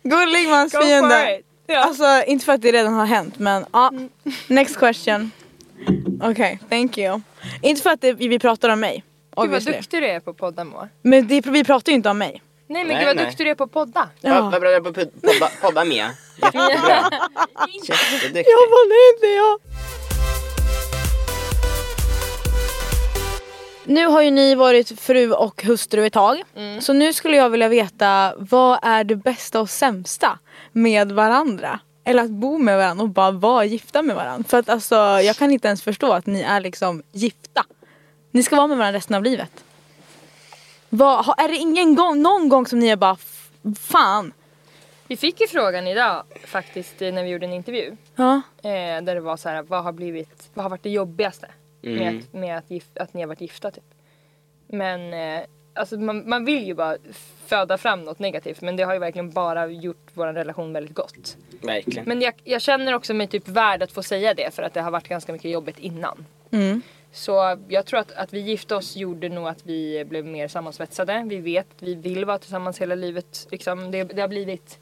A: gå och ligg med hans
B: Go for
A: fiende.
B: it. Ja.
A: Alltså inte för att det redan har hänt men ja. Next question. Okej, thank you. Inte för att det, vi pratar om mig.
B: Gud vad
A: Obviously.
B: duktig du är på att podda Moa.
A: Men det, vi pratar ju inte om mig.
B: Nej men
C: Nej,
B: gud vad
C: nej.
B: duktig du är på att podda.
C: Vad vad bra du är på att pod- podda, podda Mia. Jättebra.
B: *laughs*
C: Jätteduktig.
A: Jag bara, nej inte jag. Nu har ju ni varit fru och hustru ett tag. Så nu skulle jag vilja veta vad är det bästa och sämsta med varandra? Eller att bo med varandra och bara vara gifta med varandra. För att alltså jag kan inte ens förstå att ni är liksom gifta. Ni ska vara med varandra resten av livet. Vad, har- är det ingen gång, någon gång som ni är bara "F- fan?
B: Vi fick ju frågan idag faktiskt eh, när vi gjorde en intervju.
A: Ja.
B: Eh, där det var så här, vad har blivit, vad har varit det jobbigaste
C: Mm.
B: med, att, med att, gif, att ni har varit gifta typ. Men eh, alltså man, man vill ju bara föda fram något negativt men det har ju verkligen bara gjort vår relation väldigt gott.
C: Verkligen.
B: Men jag, jag känner också mig typ värd att få säga det för att det har varit ganska mycket jobbigt innan. Mm. Så jag tror att, att vi gifte oss gjorde nog att vi blev mer sammansvetsade. Vi vet, vi vill vara tillsammans hela livet. Liksom, det, det har blivit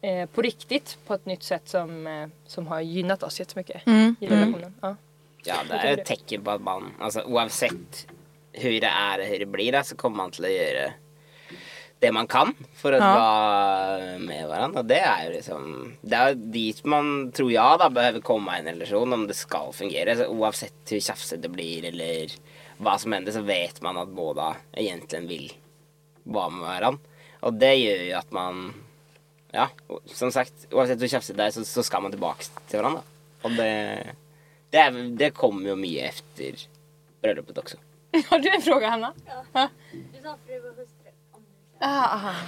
B: eh, på riktigt på ett nytt sätt som, eh, som har gynnat oss jättemycket i relationen. Ja.
C: Ja, det är ett tecken på att man, alltså oavsett hur det är och hur det blir det, så kommer man till att göra det man kan för att vara med varandra. Och det är ju liksom, det är dit man, tror jag då, behöver komma i en relation om det ska fungera. Så oavsett hur tjafsigt det blir eller vad som händer så vet man att båda egentligen vill vara med varandra. Och det gör ju att man, ja, som sagt, oavsett hur tjafsigt det är så, så ska man tillbaka till varandra. Och det det, är, det kommer ju mycket efter bröllopet också.
B: *laughs* Har du en fråga Hanna?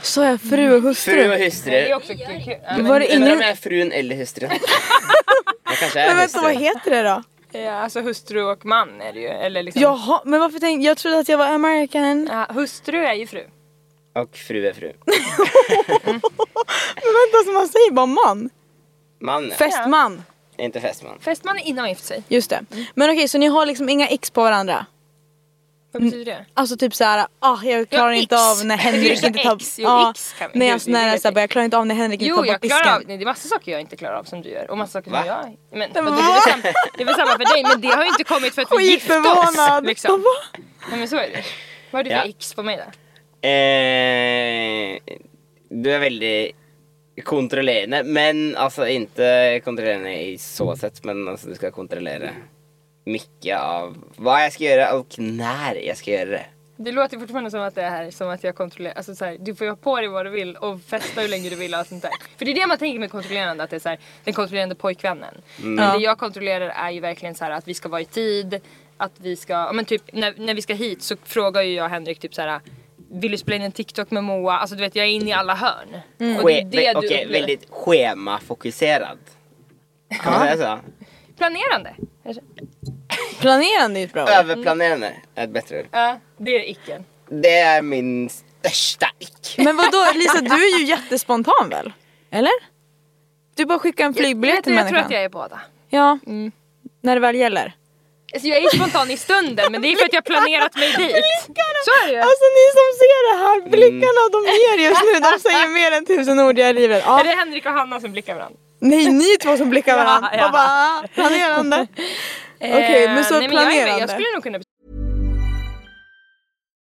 A: Så är jag fru och hustru.
C: Fru och hustru.
B: Det är också kul. kul. Ja, men,
A: Var det
C: Undrar om
A: ingen...
C: jag är frun eller hustru. Jag kanske är
A: Men vänta, vad
C: hustru.
A: heter det då?
B: ja, alltså hustru och man är det ju. Eller liksom,
A: Jaha, men varför tänkte jag trodde att jag var American.
B: Ja, hustru är ju fru.
C: Och fru är fru.
A: Men vänta, så man säger bara man.
C: Man
A: Fästman.
C: är inte fästman.
B: Fästman är innan man gift sig.
A: Just det. Men okej, så ni har liksom inga ex på varandra?
B: Vad betyder det?
A: Alltså typ såhär, ah jag klarar
B: Ja,
A: inte
B: ex.
A: av när
B: Det är
A: Henrik
B: så
A: inte tar...
B: ex. Jo,
A: Ja,
B: ex kan vi-
A: Nej
B: jo,
A: alltså
B: det är
A: när jag
B: helt
A: såhär, bara, jag klarar inte av när Henrik inte
B: Jo
A: tar
B: jag
A: bort
B: klarar av,
A: disken.
B: nej, det är massa saker jag inte klarar av som du gör och massa saker som
C: Va?
B: jag men, men det, är väl samma, det är väl samma för dig men det har ju inte kommit för att vi gifte oss.
A: Skitförvånad.
B: Liksom.
A: Va?
B: Nej, men så är det. Vad är du för
C: Ja.
B: x på mig då?
C: Eh, du är väldigt kontrollerande, men alltså inte kontrollerande i så sätt, men alltså du ska kontrollera mycket av vad jag ska göra och när jag ska göra det.
B: Det låter fortfarande som att det är här som att jag kontrollerar, alltså så här, du får ju ha på dig vad du vill och festa hur länge du vill och allt sånt där. För det är det man tänker med kontrollerande, att det är så här, den kontrollerande pojkvännen.
C: Mm.
B: Men det jag kontrollerar är ju verkligen så här att vi ska vara i tid, att vi ska, ja men typ när, när vi ska hit så frågar ju jag Henrik typ så här. Vill du spela in en TikTok med Moa? Alltså du vet jag är inne i alla hörn. Och det är
C: Ske-
B: det du
C: Okej,
B: upplever.
C: väldigt schemafokuserad. Kan man säga så?
B: Planerande.
A: Planerande är ett bra ord.
C: Överplanerande är ett bättre ord.
B: Ja, det är icken.
C: Det är min största ick.
A: Men vadå Lisa, du är ju jättespontan väl? Eller? Du bara skickar en flygbiljett
B: Jag,
A: till
B: jag tror
A: människan.
B: att jag Mm. är båda.
A: Ja, när det väl gäller.
B: Alltså, jag är spontan i stunden men det är för att jag planerat mig dit. Så är det ju.
A: Alltså ni som ser det här, blickarna de ger just nu, de säger mer än tusen ord jag river.
B: Är
A: Ja.
B: det Henrik och Hanna som blickar varandra?
A: Nej, ni två som blickar varandra.
B: Ja, ja.
A: Och bara, ah,
B: *laughs*
A: planerande. Okej, men så
B: Eh, nej, men jag, är, jag
A: planerande.
B: skulle nog kunna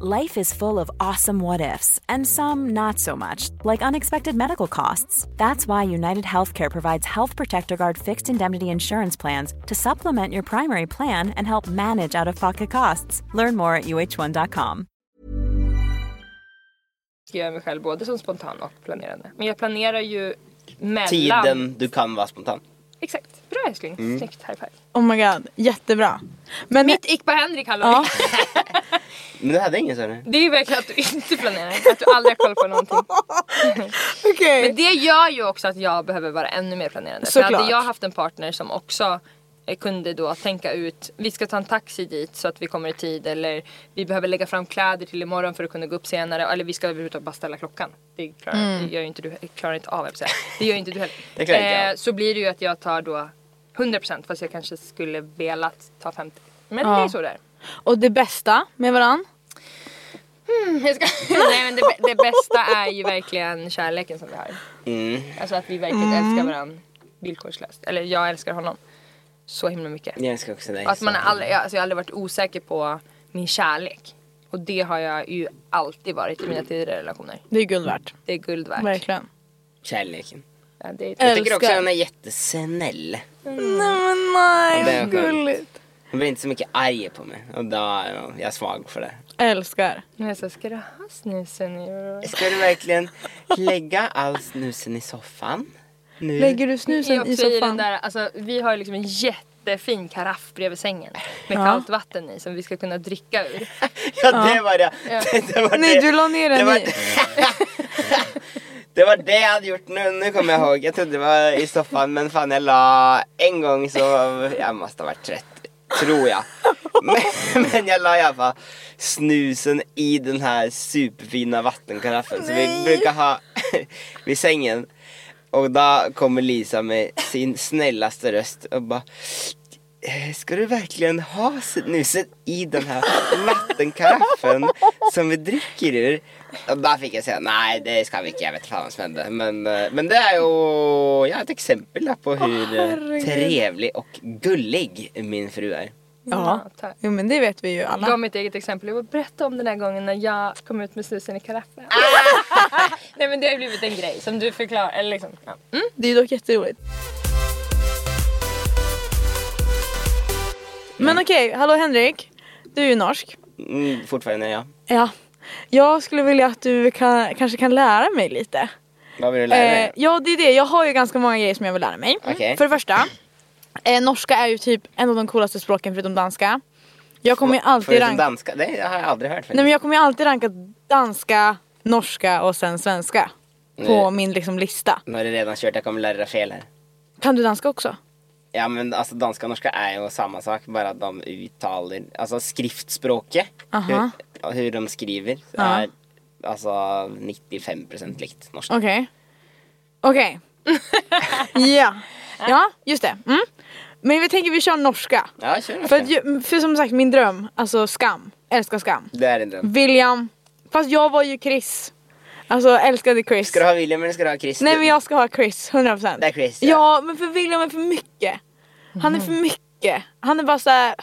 D: Life is full of awesome what ifs, and some not so much, like unexpected medical costs. That's why United Healthcare provides Health Protector Guard fixed indemnity insurance plans to supplement your primary plan and help manage out of pocket costs. Learn more at uh1.com.
B: Jag gör mig själv både som spontan och planerande. Men jag planerar ju mellan...
C: Tiden du kan vara spontan.
B: Exakt. Bra älskling. Snyggt. High five.
A: Oh my god, jättebra. Men
B: Mitt ick på Henrik hallå.
A: Ja.
C: Men du hade ingen sån?
B: Det är ju verkligen att du inte planerar. Att du aldrig har koll på
C: *laughs*
B: någonting.
A: okej.
B: Men det gör ju också att jag behöver vara ännu mer planerande. För
A: Såklart.
B: hade jag haft en partner som också eh, kunde då tänka ut, vi ska ta en taxi dit så att vi kommer i tid eller vi behöver lägga fram kläder till imorgon för att kunna gå upp senare eller vi ska överhuvudtaget bara ställa klockan. Det klarar, det gör ju inte du, klarar inte av, jag vill säga. det gör ju inte du heller.
C: Mm.
B: Eh,
C: Det klarar inte jag av.
B: så blir det ju att jag tar då 100% fast jag kanske skulle velat ta 50%. Men det är så där.
A: Och det bästa med varann?
B: Jag ska, *laughs* nej men det, bä- det bästa är ju verkligen kärleken som vi har.
C: Mm.
B: Alltså att vi verkligen älskar varandra villkorslöst. Eller jag älskar honom så himla mycket.
C: Jag älskar också dig.
B: Och att man har
C: så.
B: aldrig, jag- alltså jag har aldrig varit osäker på min kärlek. Och det har jag ju alltid varit i mina tidigare relationer.
A: Det är guld värt.
B: Det är guld värt.
A: Verkligen.
C: Kärleken.
B: Ja, det är,
C: Jag tycker också
A: Älskar.
C: att hon är jättesnäll.
A: Nej men nej,
C: Det är
A: vad
C: skönt.
A: gulligt.
C: Hon blir inte så mycket arg på mig. Och då ja, jag är svag för det.
A: Älskar.
B: nu är jag så, här, ska du ha snusen? i-
C: Ska du verkligen lägga all snusen i soffan? Nu?
A: Lägger du
B: Det är
A: snusen
B: också
A: i
B: i den
A: soffan?
B: där, alltså, vi har ju liksom en jättefin karaff bredvid sängen. Med
A: Ja.
B: kallt vatten i som vi ska kunna dricka ur.
C: Ja, det var det. *laughs* det var
A: Nej
C: det.
A: du la ner
C: det
A: den
C: var,
A: i.
C: *laughs* det var det jag hade gjort nu, nu kommer jag ihåg. Jag trodde det var i soffan men fan jag la en gång så jag måste ha varit trött.
A: *laughs*
C: Tror jag. Men, men jag la i alla fall snusen i den här superfina vattenkaraffen som vi brukar ha *laughs* vid sängen. Och då kommer Lisa med sin snällaste röst och bara "Eh, Ska du verkligen ha snuset i den här vattenkaraffen som vi dricker ur? Och då fick jag säga nej det ska vi inte, jag vet fan vad som hände. Men, eh, men det är ju ja, ett exempel här på hur eh, trevlig och gullig min fru är.
A: Ja.
B: tack.
A: Jo men det vet vi ju alla.
B: gav mitt eget exempel. Jag bara, berätta om den här gången när jag kom ut med snusen i karaffen. *laughs* Nej men det har ju blivit en grej som du förklarar. Eller liksom, ja. mm.
A: Det är dock jätteroligt. Men okej, hallå Henrik. Du är ju norsk.
C: Mm, fortfarande ja.
A: Ja. Jag skulle vilja att du kan, kanske kan lära mig lite.
C: Vad vill du lära dig?
A: Eh, ja, det är det. Jag har ju ganska många grejer som jag vill lära mig.
C: Okej.
A: För det första, eh, norska är ju typ en av de coolaste språken förutom danska. Jag kommer ju alltid
C: Förutom
A: ranka...
C: danska, det har jag aldrig hört faktiskt.
A: Nej men jag kommer ju alltid ranka danska, norska och sen svenska. På
C: Nej.
A: min liksom lista.
C: Nu har du redan kört, jag kommer lära dig fel här.
A: Kan du danska också?
C: Ja men alltså danska och norska är ju samma sak, bara att de uttalar, alltså skriftspråket,
A: Aha.
C: hur, hur de skriver, är alltså 95% likt norska.
A: Okej.
C: *laughs*
A: Okej. Ja. Ja, just det. Mm. Men vi tänker vi kör norska.
C: Ja, kör norska.
A: För, att, ju- för som sagt min dröm, alltså skam. Älskar skam.
C: Det är en dröm.
A: William. Fast jag var ju Chris. Alltså älskade Chris.
C: Ska du ha William eller ska du ha Chris?
A: Nej men jag ska ha Chris, 100%.
C: Det är Chris,
A: ja.
C: ja.
A: men för William är för mycket. Han är för
B: Mm.
A: mycket. Han är bara så här.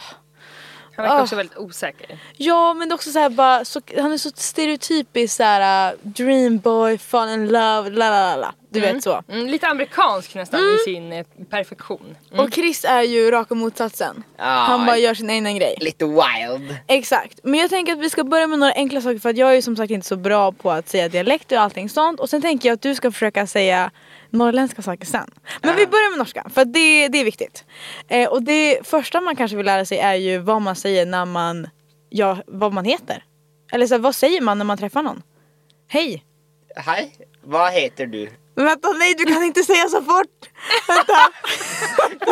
B: Han verkar
A: Ah.
B: också väldigt osäker.
A: ja men det är också så här bara, så, han är så stereotypisk så här uh, dream boy, fall in love, la la la la. Du vet så.
B: Mm, lite amerikansk nästan i sin eh, perfektion.
A: Och Chris är ju raka motsatsen. han bara gör sin egen grej.
C: Lite wild.
A: Exakt. Men jag tänker att vi ska börja med några enkla saker för att jag är ju som sagt inte så bra på att säga dialekt och allting sånt. Och sen tänker jag att du ska försöka säga norrländska saker sen. Men
C: Ah.
A: vi börjar med norska för att det, det är viktigt. Eh, och det första man kanske vill lära sig är ju vad man säger när man, ja vad man heter. Eller så här, vad säger man när man träffar någon? Hej!
C: Hej, vad heter du? *laughs*
A: Men vänta nej du kan inte säga så fort! *laughs*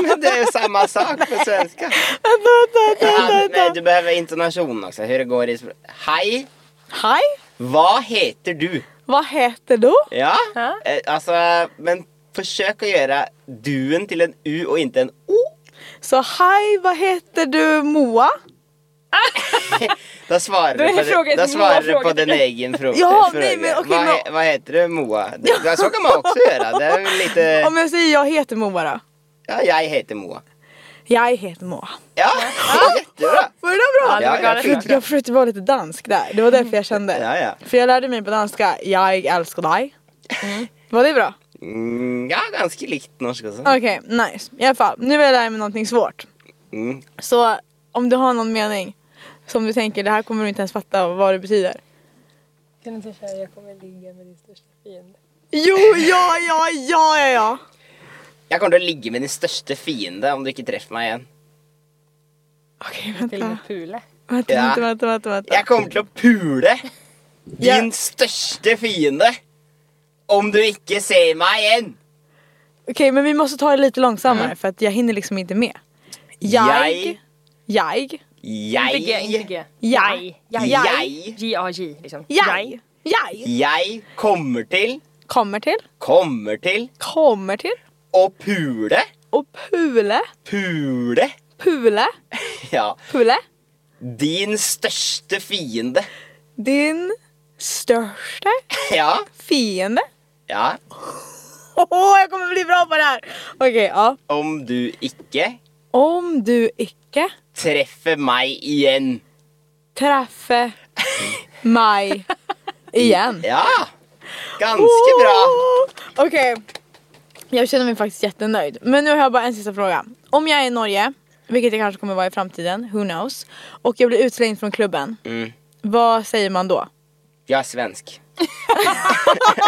C: Men det är ju samma sak på svenska.
A: Vänta vänta
C: Ja,
A: vänta!
C: men
A: vänta.
C: du behöver intonation också, hur det går i språket. Hej,
A: Hej!
C: vad heter du?
A: Vad heter du?
C: Ja,
B: Ja.
C: eh, alltså men försök att göra duen till en u och inte en o.
A: Så hej vad heter du Moa?
C: Då svarar
B: är
C: du på,
B: frågan-
C: det, då
B: Moa
C: svarar du på
B: frågar.
C: din egen fråga.
A: Ja,
C: fråga.
A: nej, men okej,
C: vad,
A: men-
C: he- vad heter du Moa? Det, det- så kan man också göra. Det är väl lite...
A: Om jag säger jag heter Moa då?
C: Ja, jag heter Moa.
A: Jag heter Moa.
C: Ja, *laughs* jättebra!
A: Var det där bra?
C: Ja, det var galet
A: jag,
C: bra.
A: försökte, jag försökte vara lite dansk där, det var därför jag kände.
C: Ja, ja.
A: För jag lärde mig på danska, jag älskar dig. Var det bra?
C: Mm, ja, ganska likt norska också.
A: Okej, nice. I alla fall, nu vill jag lära mig någonting svårt.
C: Mm.
A: Så om du har någon mening som du tänker, det här kommer du inte ens fatta vad det betyder.
B: Kan inte säga jag kommer ligga med din största fiende.
A: Jo, ja, ja, ja, ja, ja.
C: Jag kommer till att ligga med din största fiende om du inte träffar mig igen.
A: Okej,
B: Till
A: *laughs*
B: och
A: vänta.
B: med Pule.
A: Vänta,
C: Ja.
A: vänta, vänta, vänta, vänta.
C: Jag kommer till att pule din
A: Ja.
C: största fiende om du inte ser mig igen.
A: Okej, men vi måste ta det lite långsammare för att jag hinner liksom inte med. Jag, jag,
C: Jag,
B: Inte G, inte G.
A: jag,
B: Jag.
C: Jag.
B: J-A-J liksom.
A: jag, jag
C: jag kommer till,
A: kommer till,
C: kommer till
A: kommer till
C: att pule,
A: och pule,
C: pule,
A: pule,
C: ja,
A: pule
C: din största fiende.
A: din största
C: Ja,
A: fiende.
C: ja,
A: Åh, jag kommer bli bra på det här! Okej, ja.
C: om du inte
A: Om du icke
C: träffar mig igen.
A: träffar mig igen.
C: Ja, ganska bra.
A: Okej. Jag känner mig faktiskt jättenöjd. Men nu har jag bara en sista fråga. Om jag är i Norge, vilket jag kanske kommer vara i framtiden, who knows. Och jag blir utslängd från klubben. Vad säger man då?
C: Jag
A: *laughs*
C: är svensk.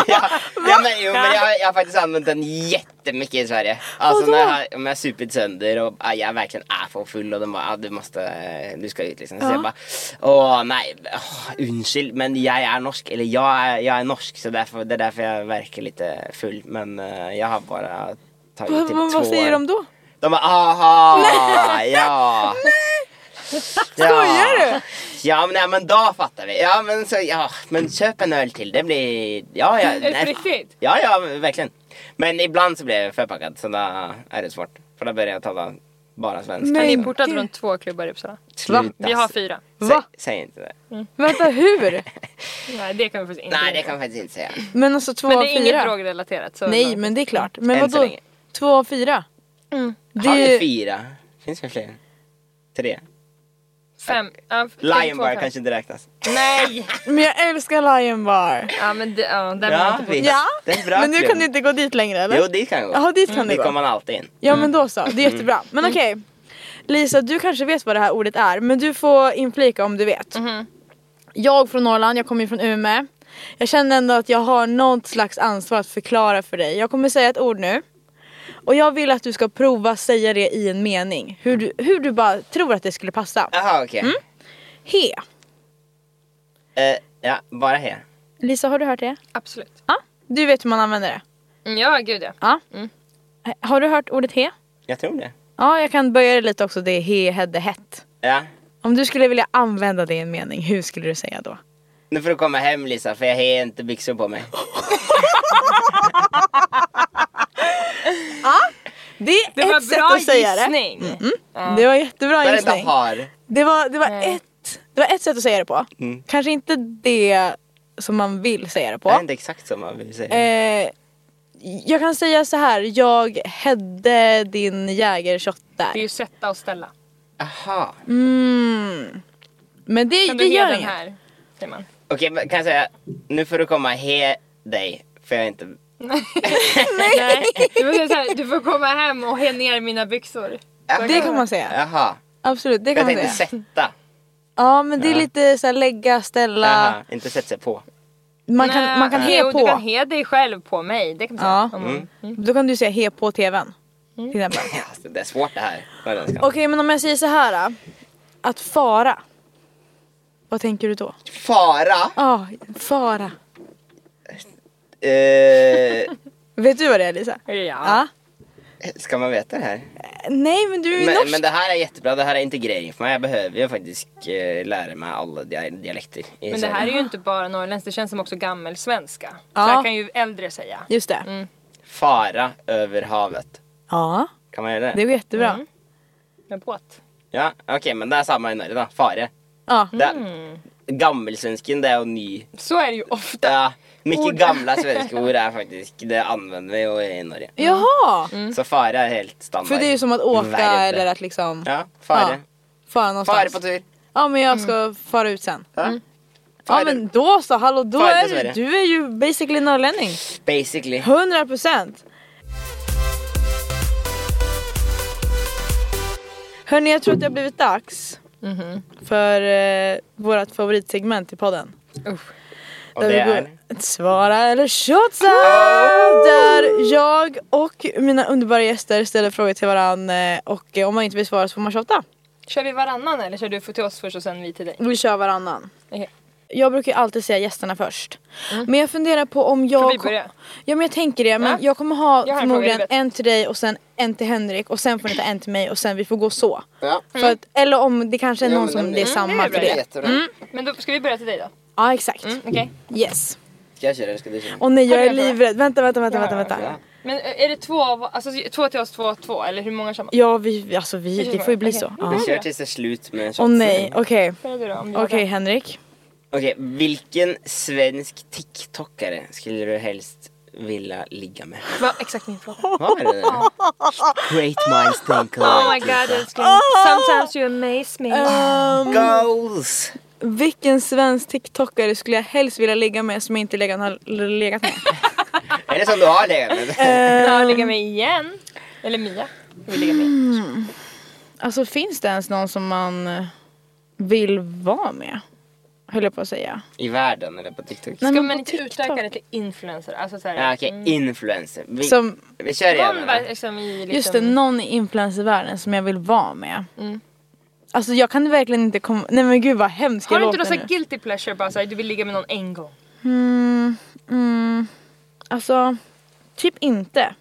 C: ja, ja, men, jo, men jag, jag har faktiskt använt den jättemycket i Sverige. Alltså
A: Vadå?
C: när jag, har- om jag har supit sönder och ja, jag verkligen är för full och de bara, ja, du måste, eh, du ska ut liksom. Så jag bara, åh nej, åh, ursäkta men jag är norsk, eller jag är, jag är norsk så därför, det är därför jag verkar lite full. Men eh, jag har bara tagit
A: Vad-
C: typ
A: vad-
C: två
A: vad säger
C: år.
A: de då?
C: De bara, aha, ja.
A: Skojar du?
C: Ja men, ja men då fattar vi. Ja men så ja, men köp en öl till. Det blir... Ja ja.
B: Är det
C: nej.
B: på riktigt?
C: Ja ja men verkligen. Men ibland så blir jag förpackad så då är det svårt. För då börjar jag tala bara svenska.
A: Men-
B: Han är
C: Så
B: importad
A: Gud.
B: från två klubbar i Uppsala.
C: sluta.
B: Vi har fyra.
C: Säg, säg inte det.
A: Vänta, hur?
B: Nej det kan vi faktiskt inte.
C: Nej det kan jag faktiskt inte säga.
A: Men alltså två
B: Men
A: av
B: det är inget
A: fyra?
B: drogrelaterat. Så
A: Nej, men det är klart. Men
C: Än så
A: vadå?
C: länge.
A: Två av fyra?
B: Mm.
A: Det
C: Har
A: är
C: vi
A: ju-
C: fyra? Finns det fler? Tre?
B: Fem. Ja, f-
C: Lion
B: två,
C: Bar
B: fem.
C: kanske inte räknas.
B: Nej!
A: Men jag älskar Lion Bar.
B: Ja men det, ja, där var
C: Ja
B: inte på.
C: visst.
A: Ja,
C: Det är en bra
A: men nu
C: klubb.
A: kan du inte gå dit längre eller?
C: Jo Mm. dit kan jag gå.
A: Jaha, dit kan du
C: Dit
A: gå.
C: kommer man alltid in.
A: Ja men då så, det är jättebra.
B: Mm.
A: Men okej. Lisa, du kanske vet vad det här ordet är, men du får inflika om du vet.
B: Mhm.
A: Jag från Norrland, jag kommer ju från Umeå. Jag känner ändå att jag har något slags ansvar att förklara för dig. Jag kommer säga ett ord nu. Och jag vill att du ska prova säga det i en mening. Hur du, hur du bara tror att det skulle passa.
C: Jaha okej.
A: Mm. He.
C: Eh, ja, bara här.
A: Lisa, har du hört det?
B: Absolut.
A: Ja. Du vet hur man använder det?
B: Mm, Ja gud ja.
A: Ja. Har du hört ordet he?
C: Jag tror det.
A: Ja, jag kan böja det lite också. Det är he, hedde, hett.
C: Ja.
A: Om du skulle vilja använda det i en mening, hur skulle du säga då?
C: Nu får du komma hem Lisa för jag har inte byxor på mig.
A: Det är
B: Det
A: ett
B: var
A: sätt
B: bra
A: att säga Mm.
B: gissning.
A: det. Det var jättebra
C: Vad är det de
A: gissning.
C: har?
A: Det var, det, var
B: Nej.
A: ett, det var ett sätt att säga det på.
B: Mm.
A: Kanske inte det som man vill säga det på.
C: Det är inte exakt som man vill säga.
A: Eh, jag kan säga så här, jag hade din jägershot
B: Det är
A: där.
B: ju sätta och ställa.
C: Aha.
A: Men det,
B: Kan
A: det
B: du ge
A: gör
B: den
A: inget.
B: här? Säger man.
C: Okej, men kan jag säga, nu får du komma he dig. För jag är inte...
B: Nej. Du, måste säga så här, du får komma hem och he ner mina byxor.
A: Det kan man säga.
C: Jaha.
A: Absolut, det kan
C: Jag
A: man
C: tänkte
A: säga.
C: sätta.
A: Ja men det är lite så här, lägga, ställa.
C: Jaha, inte sätta sig på. *laughs*
A: Man kan, man kan
B: Nej,
A: he
B: jo,
A: på.
B: Du kan he dig själv på mig. Det kan man
A: Ja.
B: säga. Mm. Om-
C: Mm.
A: Då kan du säga he på tvn.
B: Mm.
A: Till exempel.
C: Ja, alltså, det är svårt det här. Vad den ska.
A: Okej men om jag säger så här då. Att fara. Vad tänker du då?
C: Fara.
A: Ja, fara.
C: Eh,
A: Vet du vad det är Lisa?
B: Ja.
C: ska man veta det här?
A: Nej men du är ju
C: Men,
A: norsk.
C: men det här är jättebra, det här är integrering för mig. Jag behöver ju faktiskt eh, lära mig alla dia- dialekter. i
B: Men det
C: Sverige.
B: här är ju inte bara norrländskt. Det känns som också gammelsvenska. Så
A: Ja.
B: här kan ju äldre säga.
A: Just det.
B: Mm.
C: Fara över havet.
A: Ja,
C: Kan man göra det?
A: det går jättebra.
B: Mm. Med båt.
C: Ja, okej, men det är samma i Norge då. Fare.
A: Ja.
C: Det, gammelsvensken, det er jo ny.
B: Så är det ju ofta.
C: Ja, Mycket gamla svenskord är faktisk Det använder vi jo i Norge.
A: Jaha!
B: Mm.
C: Så fare är helt standard.
A: Mm. För det är ju som att
C: Mm.
A: åka
C: Verb.
A: eller att liksom
C: Ja, fare.
A: Ja, fara någonstans.
C: Fare på tur.
A: Ja men
B: Mm.
A: jag ska fara ut sen.
C: Ja.
A: Ja
C: Fare.
A: men då så, hallå då
C: Fara
A: är
C: till
A: du,
C: Sverige.
A: du är ju basically norrlänning.
C: Basically.
A: 100 procent. Hörni, jag tror att det har blivit dags för eh, vårt favoritsegment i podden.
C: Och
A: Där
C: det
A: vi
C: är...
A: går ett svara eller shotsa! Där jag och mina underbara gäster ställer frågor till varandra och eh, om man inte vill svara så får man tjata.
B: Kör vi varannan eller kör du för till oss först och sen vi till dig?
A: Vi kör varannan.
B: Okej.
A: Jag brukar ju alltid säga gästerna först. Men jag funderar på om jag...
B: Ska vi
A: kom-
B: börja?
A: Ja men jag tänker det, men
B: Ja.
A: jag kommer ha
B: Jag har en
A: förmodligen
B: fråga i
A: en till dig och sen en till Henrik och sen får ni ta en till mig och sen vi får gå så.
C: Ja.
A: För att, eller om det kanske är
C: Jo,
A: någon
C: men
A: som
C: det-
A: Mm. det är
C: Mm,
A: samma
B: det är
A: till
B: bra.
A: det. Mm.
C: Jättebra.
B: Men då ska vi börja till dig då?
A: Ja exakt.
B: Mm, Okej.
A: Yes.
C: Ska jag köra eller ska du köra?
A: Och nej jag
B: Har
A: är
B: du en fråga?
A: livrädd. Vänta vänta vänta vänta. vänta.
C: Ja.
B: Men eh, är det två av, alltså två till oss, två och två eller hur många kör man?
A: Ja vi, vi- alltså vi,
B: Jag
A: det
B: kör
A: får ju bli
B: bara.
A: så.
B: Okej.
A: Ja. Mm.
C: Vi kör tills det är slut med
A: Åh
C: shotsen.
A: nej, okej.
B: Börja du då om du
A: Okej
B: har det.
A: Henrik.
C: Okej, vilken svensk TikTokare skulle du helst vilja ligga med?
B: Va, exakt min fråga.
C: Vad är det? Great minds think alike.
B: Oh my god älskling. Sometimes you amaze me.
C: Goals!
A: Vilken svensk TikTokare skulle jag helst vilja ligga med som jag inte legat, har legat med?
C: Är det som du har legat med?
B: Ja, ligga med igen. Eller Mia. Vill ligga med.
A: *laughs* Alltså finns det ens någon som man eh, vill vara med? Höll jag på att säga.
C: I världen eller på TikTok?
A: Nej,
B: Ska
A: men
B: man
A: på
B: inte
A: TikTok.
B: utöka det till influencer? Alltså såhär.
C: Ja, Okej, influencer. Vi,
A: Som,
C: vi kör igen.
B: Någon var
C: eller?
B: liksom i liksom.
A: just det, någon i influencervärlden som jag vill vara med. Alltså jag kan verkligen inte komma... Nej men gud vad hemskt
B: Har
A: jag
B: du inte någon
A: låter
B: sån här
A: nu.
B: guilty pleasure bara såhär du vill ligga med någon en gång?
A: Mm, mm, alltså, typ inte.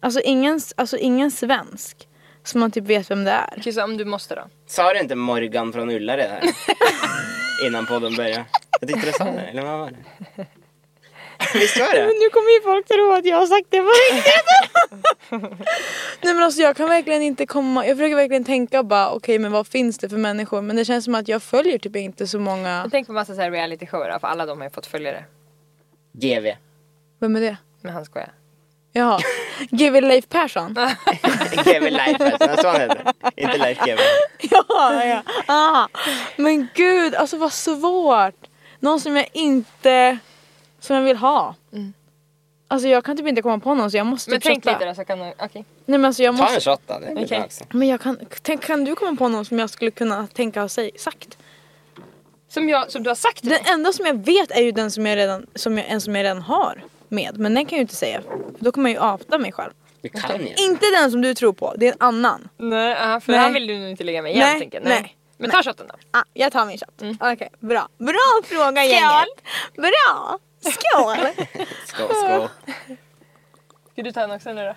A: Alltså ingen, alltså ingen svensk som man typ vet vem det är.
B: Okej så om du måste då?
C: Sa du inte Morgan från Ulla redan? Innan podden började. Jag tyckte du sa det, eller vad var det? Visst var det?
A: nu kommer ju folk tro att jag har sagt det på riktigt. Nej men alltså jag kan verkligen inte komma, jag försöker verkligen tänka bara okej men vad finns det för människor men det känns som att jag följer typ inte så många.
B: Jag tänker på massa såhär realityshower då, för alla de har ju fått följare.
C: GV.
A: Vem är det?
B: Men han skojar.
A: *laughs* Jaha, GW Leif Persson?
C: GV Life, alltså. så han heter. Inte Life GV.
A: *laughs* ja, ja. Ah. Men gud alltså vad svårt. Någon som jag inte, som jag vill ha. Alltså jag kan typ inte komma på någon så jag måste
B: Mm. Men
A: typ
B: tänk
A: shotta.
B: lite då så kan du, okej.
A: Nej men alltså jag
C: Ta
A: måste
C: en shot då. Det är
B: Okej.
C: bra också.
A: Men jag kan, tänk, kan du komma på någon som jag skulle kunna tänka ha sig,
B: Typ.
A: sagt?
B: Som, jag, som du har sagt till
A: Den
B: mig.
A: enda som jag vet är ju den som jag redan, som jag, en som jag redan har med. Men den kan jag ju inte säga. För då kommer jag ju apta mig själv.
C: Du kan ju.
A: Inte den som du tror på, det är en annan.
B: Nej, ja, för
A: Nej.
B: han vill du nog inte ligga med igen
A: Nej,
B: tänker jag.
A: nej,
B: Men ta shotten då.
A: Ah, jag tar min shot.
B: Mm.
A: Okej, bra. Bra fråga gänget. Bra!
B: *laughs*
A: Skål!
C: Skål, skål.
B: Ska du ta den också nu då?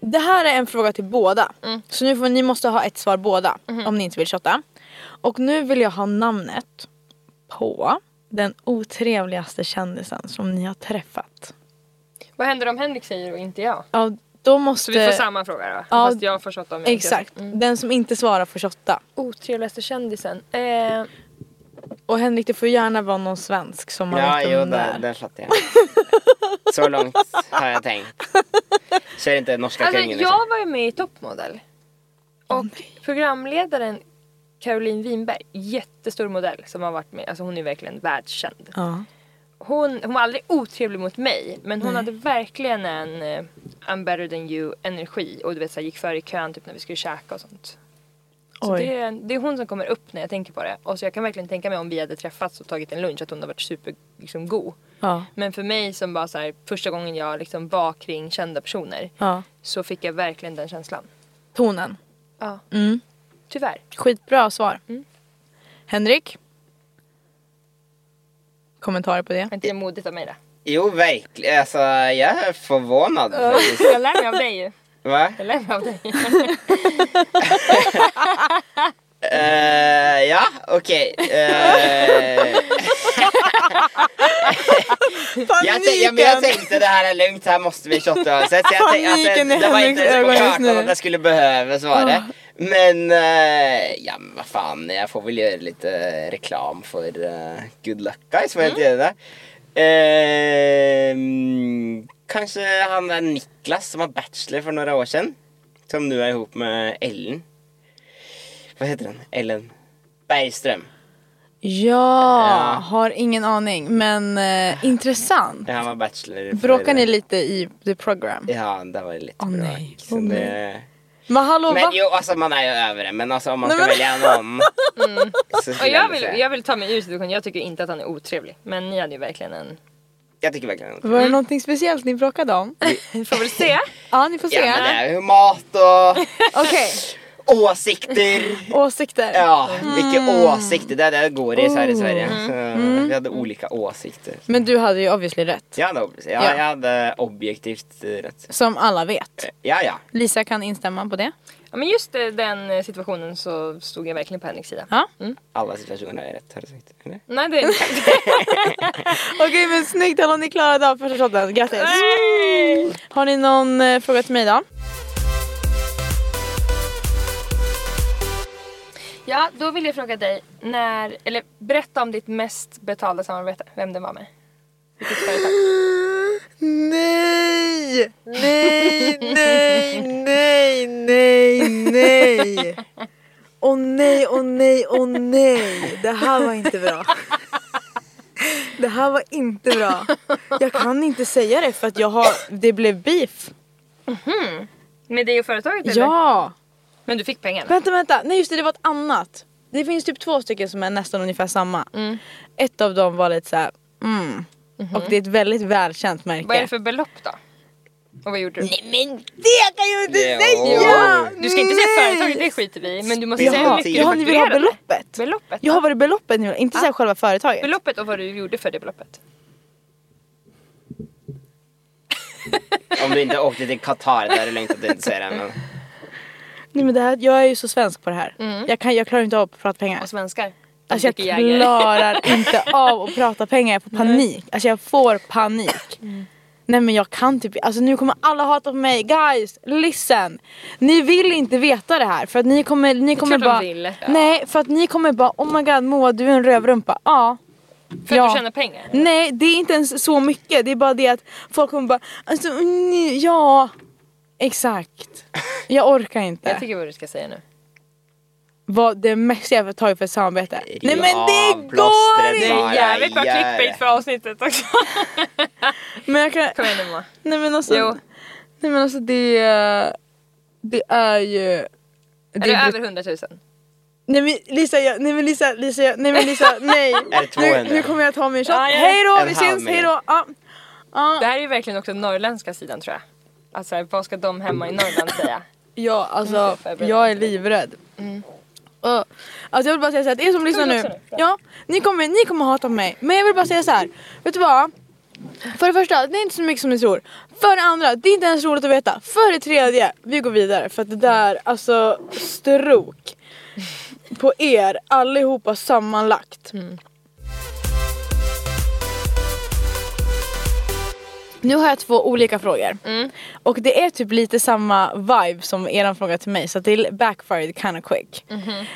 A: det här är en fråga till båda.
B: Mm.
A: Så nu får, ni måste ha ett svar båda
B: Mhm.
A: om ni inte vill shotta. Och nu vill jag ha namnet på den otrevligaste kändisen som ni har träffat.
B: Vad händer om Henrik säger och inte jag?
A: Ja, då måste...
B: Så vi får samma fråga då?
A: Ja,
B: Fast jag får shotta om jag inte gör så.
A: Exakt. Den som inte svarar får shotta.
B: Otrevligaste kändisen? Eh,
A: Och Henrik, det får gärna vara någon svensk som man
C: Ja,
A: vet
C: jo,
A: vem det
C: där,
A: är.
C: där fattar jag. Så långt har jag tänkt. Kör inte norska
B: alltså,
C: kungen. liksom.
B: jag var ju med i Toppmodell. Och
A: nej.
B: programledaren Caroline Winberg, jättestor modell som har varit med, alltså hon är verkligen världskänd.
A: Ja.
B: Hon, hon var aldrig otrevlig mot mig men hon hade verkligen en eh, I'm better than you energi och du vet så här, gick före i kön typ när vi skulle käka och sånt. Så
A: Oj.
B: det, är- det är hon som kommer upp när jag tänker på det. Och så jag kan verkligen tänka mig om vi hade träffats och tagit en lunch att hon hade varit super liksom, god.
A: Ja.
B: Men för mig som bara så här, första gången jag liksom var kring kända personer
A: ja.
B: så fick jag verkligen den känslan.
A: Tonen.
B: Ja.
A: Mm.
B: Tyvärr.
A: Skitbra svar.
B: Mm.
A: Henrik? Kommentarer på det?
B: Var inte det modigt av mig det?
C: Jo, verkligen. Alltså, jag är förvånad faktiskt.
B: Jag lär mig av dig ju.
C: Va?
B: Jag lär mig av dig.
C: Eh, ja, okej. Eh, Jag, tän- ja, men jag tänkte det här är lugnt, här måste vi shotta oavsett. Så jag tänkte, alltså,
A: Paniken i
C: det var inte ens
A: hennes
C: på
A: ögon just
C: kartan
A: nu.
C: att jag skulle behövas vara det. Men, eh, ja men vad fan, jag får väl göra lite eh, reklam för eh, Good Luck Guys,
A: Mm.
C: får jag inte göra det? Ehm, kanske han där Niklas som var bachelor för några år sedan. Som nu är ihop med Ellen. Vad heter den? Ellen Bergström.
A: Ja,
C: Ja.
A: har ingen aning. Men eh, intressant.
C: Ja, han var bachelor. för-
A: Bråkar ni lite i the program?
C: Ja, det var lite
A: Åh,
C: bra.
A: nej.
C: Så
A: Åh, nej.
C: det-
A: Men hallå
C: Men
A: va?
C: jo, alltså man är ju över det. Men alltså om man
A: Nej,
C: ska
A: men- Mm.
C: välja någon. så
B: *laughs* Och
C: skulle
B: jag
C: jag,
B: vill,
C: säga-
B: jag vill ta mig ur situationen, jag tycker inte att han är otrevlig. Men ni hade ju verkligen en...
C: jag tycker verkligen
A: Var det någonting speciellt ni bråkade om? *laughs*
B: Vi får väl se.
A: Ja, ni får se.
C: Ja men det är ju mat och
A: Okej, *laughs*
C: åsikter.
A: åsikter.
C: Ja, vilka
A: Mm.
C: åsikter. Det är det det går i så
A: Oh.
C: här i Sverige. Så, Vi hade olika åsikter.
A: Men du hade ju obviously rätt.
C: Jag hade, obs- ja,
A: Ja.
C: jag hade objektivt eh, rätt.
A: Som alla vet.
C: Ja, ja.
A: Lisa kan instämma på det.
B: Ja, men just eh, den eh, situationen så stod jag verkligen på Henriks sida.
A: Ja.
C: Alla situationer är rätt har du sagt. eller?
B: Nej det är inte.
A: Okej men snyggt, hallå ni klarade av första shoten. Grattis! Har ni någon eh, fråga till mig då?
B: Ja, då vill jag fråga dig när, eller berätta om ditt mest betalda samarbete, vem det var med. Vilket företag.
A: Nej! Nej, nej, nej, nej, nej! *laughs* Åh nej, åh nej, åh nej! Det här var inte bra. Det här var inte bra. Jag kan inte säga det för att jag har, det blev beef.
B: Med dig och företaget eller?
A: Ja!
B: Men du fick pengarna?
A: Vänta, vänta. Nej just det, det var ett annat. Det finns typ två stycken som är nästan ungefär samma.
B: Mm.
A: Ett av dem var lite såhär, mm. Och det är ett väldigt välkänt märke.
B: Mhm. Vad är det för belopp då? Och vad gjorde du?
A: Det kan jag inte
C: Jo.
A: säga!
B: Du ska inte säga
A: Nej!
B: företaget, det skiter vi i. Men du måste
C: Jaha,
B: säga
A: Jaha,
B: hur mycket Ah.
A: jaha
B: du
A: ni vill ha
B: fakturerade.
A: beloppet?
B: Beloppet?
A: Jag har varit beloppet ni vill ha, inte säga själva företaget.
B: Beloppet och vad du gjorde för det beloppet.
C: Oh. Om du inte åkte till Qatar där du längtat inte säga det. Men...
A: Nej, men det här, jag är ju så svensk på det här. Jag, kan, jag klarar inte av att prata pengar.
B: Mm. Och svenskar. De
A: Alltså jag
B: dricker Jäger.
A: klarar inte av att prata pengar, jag får panik. Alltså jag får panik.
B: Mm.
A: Nej men jag kan typ alltså nu kommer alla hata på mig. Guys, listen! Ni vill inte veta det här för att ni kommer, ni kommer
B: klart de
A: bara...
B: vill. Ja.
A: Nej, för att ni kommer bara oh my god Moa du är en rövrumpa. Ja.
B: För
A: ja.
B: att du tjänar pengar.
A: Nej, det är inte ens så mycket. Det är bara det att folk kommer bara alltså, mm, ja. Exakt. Jag orkar inte.
B: Jag tycker vad du ska säga nu.
A: Vad det mesta jag har tagit för ett samarbete. Nej men
C: Ja,
A: det går
C: plåstret
A: inte!
C: bara
B: Jävligt bra
C: gör det.
B: clickbait för avsnittet också.
A: Men jag kan...
B: Kom igen nu Moa.
A: Nej men alltså,
B: Jo.
A: nej, men alltså det, det är ju...
B: Är
A: Det
B: det
A: är
B: över 100 000?
A: nej men Lisa, jag, nej men Lisa, Lisa, jag, nej men Lisa, nej.
C: Är det 200?
A: nu, nu kommer jag ta min shot.
B: Ja, ja.
A: Hej då,
C: En
A: vi
C: halv
A: syns, hej då. Ja.
B: Det här är ju verkligen också norrländska sidan tror jag. Alltså här, vad ska de hemma i Norrland säga?
A: Ja, alltså
B: får jag berätta
A: jag är livrädd. Och, alltså jag vill bara säga såhär, er som lyssnar
B: du
A: nu,
B: också det? Bra.
A: ja, ni kommer, ni kommer hata mig. Men jag vill bara säga så här. vet du vad? För det första, det är inte så mycket som ni tror. För det andra, det är inte ens roligt att veta. För det tredje, vi går vidare för att det där, alltså strok på er allihopa sammanlagt.
B: Mm.
A: Nu har jag två olika frågor.
B: Mm.
A: Och det är typ lite samma vibe som eran fråga till mig så att det backfired kinda quick.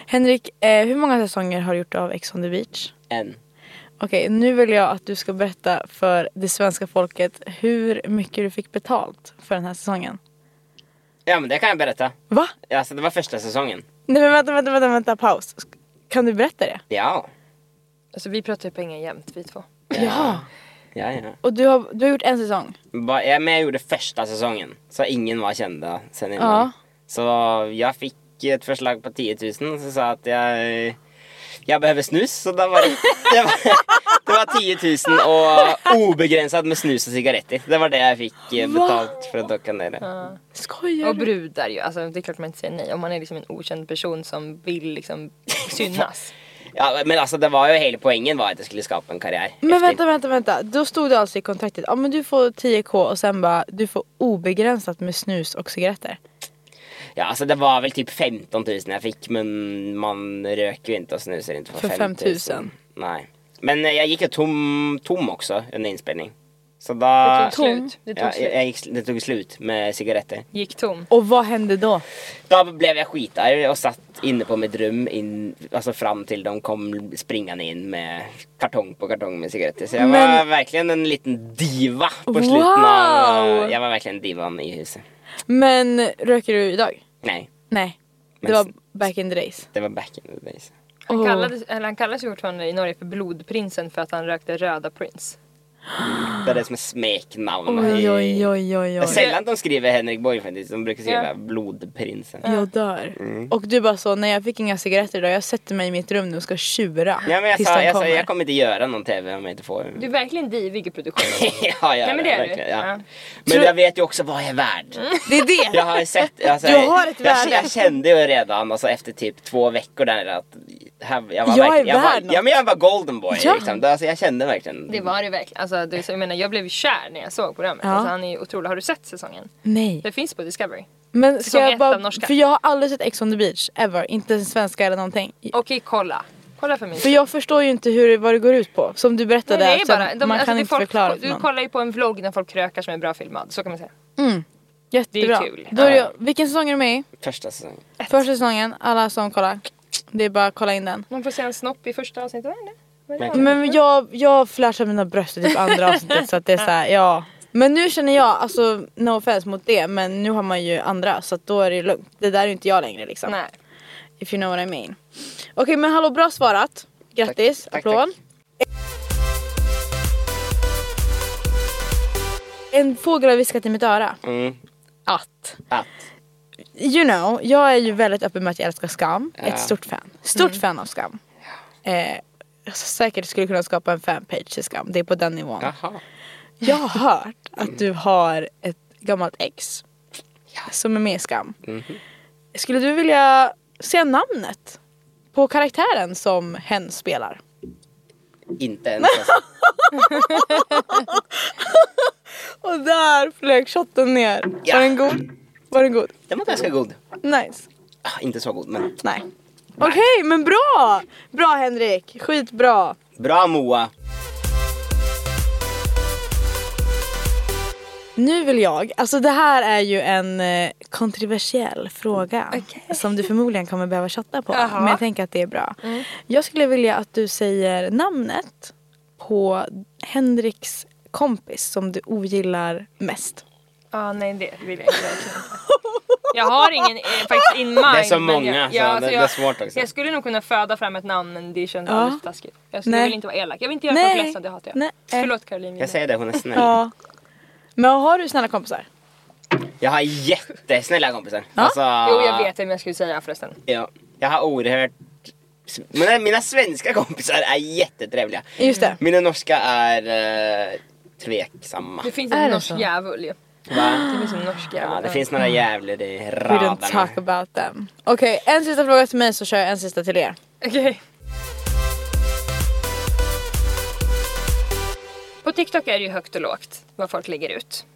A: Henrik, eh, hur många säsonger har du gjort av Ex on the beach?
C: En.
A: Okej, nu vill jag att du ska berätta för det svenska folket hur mycket du fick betalt för den här säsongen.
C: Ja men det kan jag berätta.
A: Va?
C: Alltså det var första säsongen.
A: Nej men vänta, vänta, vänta, vänta, paus. Kan du berätta det?
C: Ja.
B: Alltså vi pratar ju pengar jämt vi två.
A: Ja.
C: Ja, ja.
A: Och du har, du har gjort en säsong?
C: Ba- ja, men jag gjorde första säsongen, så ingen var kända sen innan.
A: Ja.
C: Så jag fick ett förslag på 10 000 så sa att jag, jag behöver snus. Så då var det, det, var, det var 10 000 och obegränsat med snus och cigaretter. Det var det jag fick eh, betalt för att docka ner det.
A: Skojar
B: Och
A: du?
B: brudar ju, alltså det är klart man inte säger nej. Om man är liksom en okänd person som vill liksom synas.
C: Ja, men alltså det var ju hela poängen var att jag skulle skapa en karriär.
A: Men
C: efter.
A: vänta, vänta, vänta. Då stod det alltså i kontraktet, ja men du får 10k och sen bara, du får obegränsat med snus och cigaretter.
C: Ja, alltså det var väl typ 15 000 jag fick men man röker ju inte alltså, och snusar inte för,
A: För
C: 5 000.
A: 5 000.
C: Nej. Men eh, jag gick ju tom, tom också under inspelning. Så da
B: Det tog slut. Det tog
C: *laughs* ja,
B: slut.
C: jeg, jeg, gikk sl- Det tok slut med sigaretter.
B: Gick tom.
A: Och vad hände då?
C: Da ble jeg skitarg og satt inne på mitt rom inn, altså fram til de kom springende inn med kartong på kartong med sigaretter. Så jeg var virkelig en liten diva på slutten
A: Wow!
C: av Jeg var virkelig en divaen i huset.
A: Men röker du idag?
C: Nei,
A: Nej. Det
C: Men-
A: var back in the days.
C: det var back in the days.
B: Han,
A: Åh.
B: kallades, eller han kallas ju fortfarande i Norge för blodprinsen för att han rökte röda prins.
C: Det er det som er smeknavnet.
A: Oj,
C: i-
A: oj, oj, oj,
C: Det er
A: oj.
C: sjelden de skriver Henrik Borg, faktisk. De bruker skrive
B: Ja.
C: Blodprinsen.
A: Jag dör.
C: Mm.
A: Och du bara så, nej jag fick inga cigaretter idag, jag sätter mig i mitt rum nu och ska tjura.
C: Ja, men jag
A: tills
C: sa,
A: de
C: jag, sa,
A: kommer.
C: jag kommer inte göra någon TV om jag inte får.
B: Du är verkligen divig i *laughs* produktionen.
C: *laughs* ja, ja,
B: Nej, men det är du.
C: verkligen, Ja.
B: Ja. Mm.
C: Men jag vet ju också vad jag är värd.
A: Det är det!
C: Jag har sett, alltså,
A: *laughs* Du har ett
C: jag,
A: värde.
C: jag kände ju redan alltså, efter typ två veckor där att här, jag var
A: Jag är
C: verkligen- jag
A: värd
C: var,
A: något.
C: Ja men jag var golden boy
A: Ja.
C: liksom. Det- alltså, jag kände verkligen.
B: Det var det verkligen. Alltså, det, är så- jag menar jag blev ju kär när jag såg programmet.
A: Ja.
B: Alltså, han är ju otrolig. Har du sett säsongen?
A: Nej.
B: Det finns på Discovery.
A: Men ska
B: Säsong
A: jag
B: ett av
A: bara,
B: norska.
A: för jag har aldrig sett Ex on the beach, ever. Inte ens svenska eller någonting.
B: Okej kolla. Kolla för mig.
A: För jag förstår ju inte hur, vad det går ut på. Som du
B: Nej,
A: berättade,
B: det är
A: att sen-
B: bara, de,
A: man
B: alltså,
A: kan
B: det är
A: inte
B: folk,
A: förklara för
B: Du
A: någon.
B: kollar ju på en vlogg när folk krökar som är bra filmad. Så kan man säga.
A: Jättebra.
B: det är kul.
A: Då är det,
C: Ja.
A: Vilken säsong är du med i?
C: Första säsongen.
A: Första säsongen, alla som kollar. Det är bara att kolla in den.
B: Man får se en snopp i första avsnittet. va, eller? Vad är det?
A: Men jag, jag flashar mina bröst i typ andra avsnittet så att det är så här, ja. Men nu känner jag, alltså no offense mot det, men nu har man ju andra så att då är det lugnt. Det där är ju inte jag längre liksom.
B: Nej.
A: If you know what I mean. Okej men hallå bra svarat. Grattis,
C: Tack, tack,
A: applåd. En fågel har viskat i mitt öra.
C: Mm.
A: Att.
C: Att.
A: You know, jag är ju väldigt öppen med att jag älskar Skam. Ett stort fan. Stort fan av Skam. Eh, jag säkert skulle kunna skapa en fanpage till Skam. Det är på den nivån.
C: Jaha.
A: Jag har hört att du har ett gammalt ex som är med i Skam. Skulle du vilja se namnet på karaktären som hen spelar? *laughs*
C: Inte ens alltså.
A: Och där flög shotten ner.
C: Ja.
A: Var den god? Var den god?
C: Den var ganska god.
A: Nice.
C: Ah, inte så god men.
A: Nej. Okej, men bra! Bra Henrik, skitbra.
C: Bra Moa.
A: Nu vill jag, alltså det här är ju en eh, kontroversiell fråga
B: Mm,
A: som du förmodligen kommer behöva chatta på. Men jag tänker att det är bra.
B: Mm.
A: Jag skulle vilja att du säger namnet på Henriks kompis som du ogillar mest.
B: Ja, nej det vill jag inte. verkligen inte. Jag har ingen eh, faktiskt in mind.
C: Det är så
B: men
C: många,
B: Jag,
C: så det-
B: alltså
C: det är svårt också.
B: Jag skulle nog kunna föda fram ett namn men det känns
A: Ja.
B: alldeles för taskigt. Jag skulle
A: Nej.
B: vill inte vara elak. Jag vill inte göra
A: Nej.
B: folk ledsna, det hatar jag.
A: Nej.
B: Förlåt Caroline.
C: Jag säger det, hon är snäll.
A: Ja. Men har du snälla kompisar?
C: Jag har jättesnälla kompisar. Alltså,
B: Jo jag vet vem jag skulle säga förresten.
C: Ja. Jag har oerhört... Mina, mina svenska kompisar är jättetrevliga.
A: Just det.
C: Mina norska är eh, tveksamma.
B: Det finns
A: Är
B: en
A: det
B: norsk
A: så?
B: djävul ju.
C: Va?
B: Det finns en norsk djävul.
C: Ja, det finns
A: Ah.
C: några jävlar i
A: We don't
C: raderna.
A: talk about them. Okej, en sista fråga till mig så kör jag en sista till er.
B: Okej. På TikTok är det ju högt och lågt vad folk lägger ut.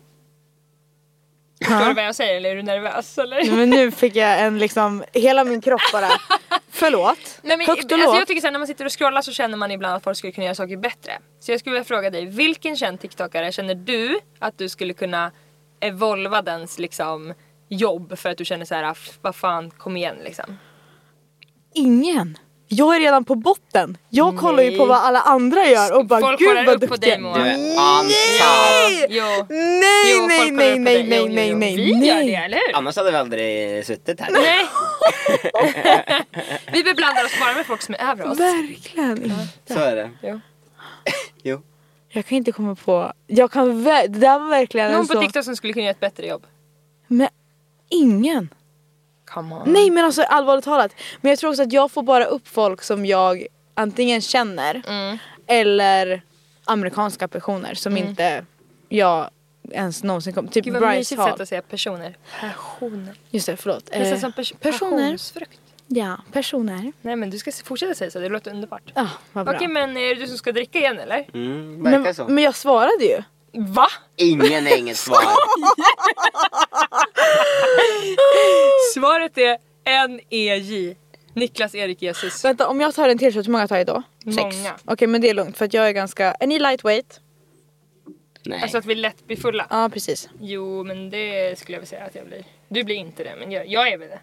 B: Förstår du vad jag säger eller är du nervös eller?
A: Men nu fick jag en liksom, hela min kropp
B: *laughs*
A: bara, förlåt.
B: Nej, men,
A: Högt och
B: alltså, jag
A: lågt.
B: tycker så här, när man sitter och scrollar så känner man ibland att folk skulle kunna göra saker bättre. Så jag skulle vilja fråga dig, vilken känd TikTokare känner du att du skulle kunna evolva dens liksom, jobb för att du känner så här, "Aff, vad fan, kom igen liksom.
A: Ingen. Jag är redan på botten. Jag kollar ju på vad alla andra gör och bara
B: folk
A: gud
B: kollar
A: vad Mm.
B: upp på
A: duktiga.
B: dig Moa.
C: Du är on top.
A: Nej!
B: Jo.
A: Nej,
B: Jo,
A: nej,
B: folk kollar
A: nej,
B: upp på
A: nej,
B: dig.
A: nej,
B: Jo, jo,
A: nej,
B: jo.
A: nej.
B: Vi gör det,
A: nej.
B: eller hur?
C: Annars hade vi aldrig suttit här.
B: Nej. *laughs* Vi beblandar oss bara med folk som är över oss.
A: Verkligen.
C: Så är det.
B: Jo.
C: *laughs* Jo.
A: Jag kan inte komma på. Jag kan vä- det där var verkligen en
B: Någon på
A: så.
B: TikTok som skulle kunna göra ett bättre jobb.
A: Men ingen.
B: Come on.
A: Nej men alltså allvarligt talat. Men jag tror också att jag får bara upp folk som jag antingen känner
B: Mm.
A: eller amerikanska personer som inte jag ens någonsin kom. Typ
B: Gud vad
A: Bryce
B: mysigt sätt
A: Hall.
B: att säga personer. Personer.
A: Just det, förlåt.
B: Nästan
A: Eh,
B: som pers-
A: personer.
B: passionsfrukt.
A: Ja, personer.
B: Nej men du ska se- fortsätta säga så, det låter underbart.
A: Ah, vad bra.
B: Okej men är det du som ska dricka igen eller?
C: Mm, verkar
A: men,
C: så.
A: men jag svarade ju.
B: Va?
C: Ingen är
A: *laughs*
C: inget svar.
B: Svaret är N-E-J. Niklas Erik Jesus.
A: Vänta, om jag tar en till shot, hur många tar jag då?
B: Många.
A: Okej, men det är lugnt för att jag är ganska... Är ni lightweight?
C: Nej.
B: Alltså att vi lätt blir fulla.
A: Ja, precis.
B: Jo, men det skulle jag väl säga att jag blir. Du blir inte det, men jag, jag är väl det.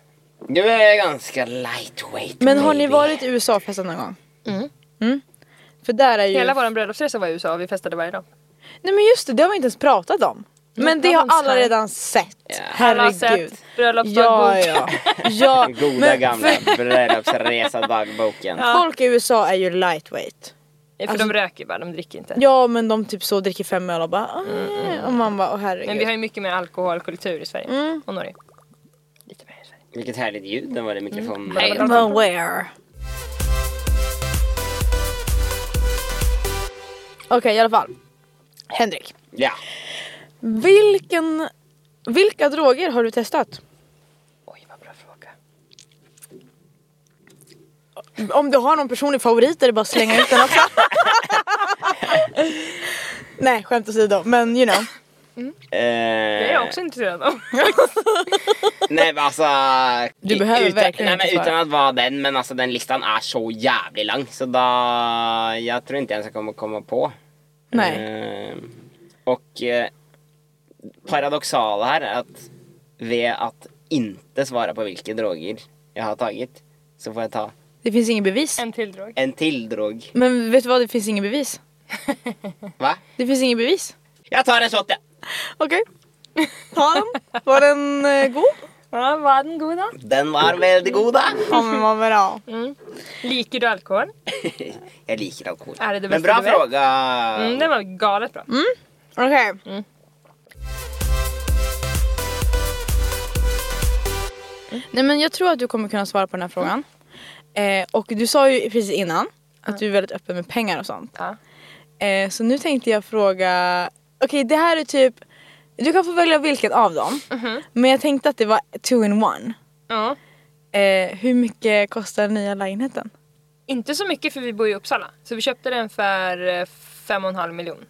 C: Du är ganska lightweight
A: Men har ni
C: baby.
A: varit i USA-festen någon gång? Mm. För där är ju...
B: Hela vår bröllopsresa var i USA och vi festade varje dag.
A: Nej men just det, det har vi inte ens pratat om. Men det har
B: Hans
A: alla
B: här.
A: redan sett.
B: Alla har
A: Herregud.
B: sett bröllopsdagbok.
A: Ja,
B: *laughs*
A: ja. ja.
C: Goda
A: men *laughs*
C: gamla
A: för-
C: bröllopsresa-dagboken.
A: Folk i USA är ju lightweight.
B: För de röker ju bara, de dricker inte.
A: Ja men de typ så dricker fem öl och bara "Ah", och man bara åh herregud.
B: Men vi har ju mycket mer alkoholkultur i Sverige och Norge. Lite mer i Sverige.
C: Vilket härligt ljud den var i mikrofonen.
B: Mm. Nej,
C: Ja,
A: Men where? Okej i alla fall. Henrik.
C: Ja.
A: Vilken, vilka droger har du testat?
B: Oj, vad bra fråga.
A: Om du har någon personlig favorit är det bara att slänga ut den *laughs* också. Nej skämt åsido men you know.
C: Eh.
B: Det är jag också intresserad av. *laughs*
C: Nej men alltså.
A: Du behöver
C: utan,
A: verkligen
C: nej,
A: inte
C: men
A: svara.
C: Utan att vara den, men alltså den listan är så jävligt lång. Så då, jag tror inte ens jag kommer komma på.
A: Nej.
C: Ehm, och eh, paradoxala här är att vid att inte svara på vilka droger jag har tagit så får jag ta
A: Det finns ingen bevis.
B: En till drog.
C: en till drog.
A: Men vet du vad det finns ingen bevis.
C: Va?
A: Det finns ingen bevis.
C: Jag tar en shot ja.
A: Okej. Ta den. Var den eh, god?
B: Ja, var den god då?
C: Den var väldigt god da.
A: Ja men vad bra.
B: Liker du alkohol?
C: Jag liker alkohol.
B: Är det det
C: men
B: bästa
C: bra
B: du vet?
C: fråga.
B: Mm, den var galet bra.
A: Okej. Nej men jag tror att du kommer kunna svara på den här frågan. Eh, och du sa ju precis innan att du är väldigt öppen med pengar och sånt.
B: Ja.
A: Eh, så nu tänkte jag fråga, okej det här är typ, du kan få välja vilken av dem. Men jag tänkte att det var two in one.
B: Ja.
A: Eh, hur mycket kostar den nya lägenheten?
B: Inte så mycket för vi bor i Uppsala. Så vi köpte den för eh, fem och en halv miljon.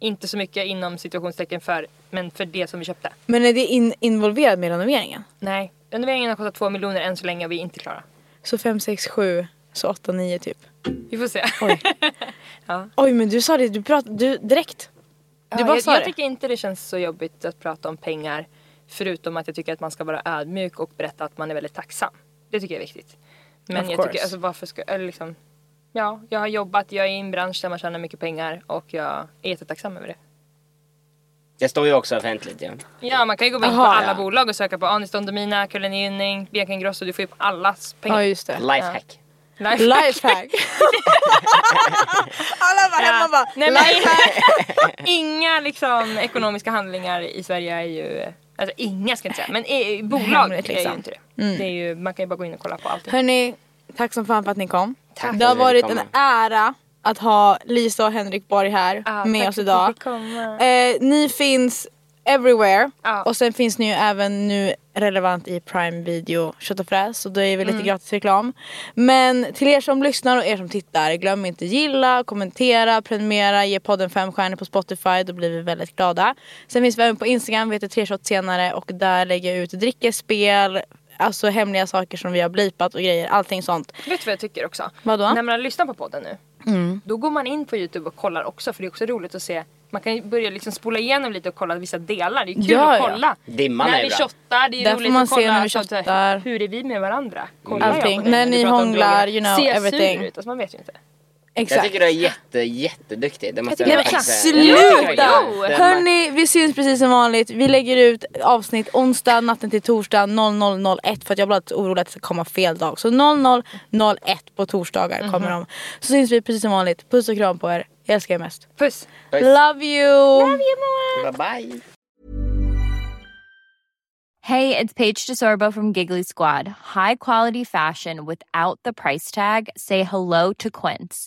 B: Inte så mycket inom situationstecken för, men för det som vi köpte.
A: Men är det in- involverat med renoveringen?
B: Nej, renoveringen har kostat två miljoner än så länge och vi är inte klara.
A: Så fem, sex, sju, så åtta, nio typ.
B: Vi får se.
A: Oj men du sa det, du pratade du, direkt. Du bara
B: jag,
A: sa
B: jag
A: det.
B: tycker inte det känns så jobbigt att prata om pengar. Förutom att jag tycker att man ska vara ödmjuk och berätta att man är väldigt tacksam. Det tycker jag är viktigt. Men
A: Of
B: jag
A: course.
B: tycker, alltså varför ska, eller liksom. Ja, jag har jobbat, jag är i en bransch där man tjänar mycket pengar och jag är jättetacksam över det.
C: Det står ju också offentligt ju.
B: Ja, man kan ju gå in på
A: Aha,
B: alla
C: ja.
B: bolag och söka på Anis Don Demina, Kulen Gynning, Bianca Ingrosso. Du får ju upp allas pengar.
A: Ja just det.
C: Lifehack.
B: Life-
A: Lifehack. *laughs* Alla var hemma bara
B: Nej, men-
A: lifehack.
B: *laughs* Inga liksom ekonomiska handlingar i Sverige är ju, alltså inga ska jag inte säga, men i, i bolag
A: Hemligt,
B: är
A: liksom.
B: ju inte det. det är ju, man kan ju bara gå in och kolla på allting.
A: Hörni, tack som fan för att ni kom.
C: Tack
A: det har
C: för att
A: varit
C: ni kom.
A: en ära att ha Lisa och Henrik Borg här
B: Ja,
A: med
B: tack
A: oss
B: för att
A: idag.
B: vi fick komma.
A: Eh, ni finns everywhere
B: Ja.
A: och sen finns ni ju även nu relevant i Prime Video Kött och Fräs så då är vi lite
B: Mm.
A: gratis reklam. Men till er som lyssnar och er som tittar glöm inte gilla, kommentera, prenumerera, ge podden fem stjärnor på Spotify då blir vi väldigt glada. Sen finns vi även på Instagram, vi heter tre shot senare och där lägger jag ut drickespel, alltså hemliga saker som vi har blipat och grejer, allting sånt.
B: Vet du vad jag tycker också?
A: Vadå? Mm.
B: När man lyssnar på podden nu, då går man in på Youtube och kollar också för det är också roligt att se man kan ju börja liksom spola igenom lite och kolla vissa delar, det är kul
A: Ja,
B: att
A: ja.
B: kolla.
C: Dimman
B: när
C: är
B: vi
C: bra.
B: shottar, det är
A: Där får
B: roligt
A: man
B: att
A: se
B: kolla. Alltså,
A: när vi
B: så att så här,
A: shottar.
B: Hur är vi med varandra? Kollar jag
A: Allting.
B: på det
A: När
B: vi
A: ni
B: pratar om
A: hånglar,
B: droger?
A: you know,
B: Ser
A: everything.
B: sur ut? Alltså, man vet ju inte.
A: Exakt.
C: Jag tycker du är jätte, jätteduktig. Det måste
B: Jag tycker
C: jag
B: det är
C: faktiskt
B: klass.
C: säga. Jag tycker
B: Jo,
C: verkligen
B: jo.
C: det. Den-
A: Hörni, vi syns precis som vanligt. Vi lägger ut avsnitt onsdag, natten till torsdag 00.01 för att jag blir alltid orolig att det ska komma fel dag. Så 00.01 på torsdagar kommer de. Så syns vi precis som vanligt. Puss och kram på er. Jag älskar er mest.
B: Puss!
C: Puss.
A: Love you!
C: Bye bye.
E: Hey, it's Paige DeSorbo from Giggly Squad. High quality fashion without the price tag. Say hello to Quince.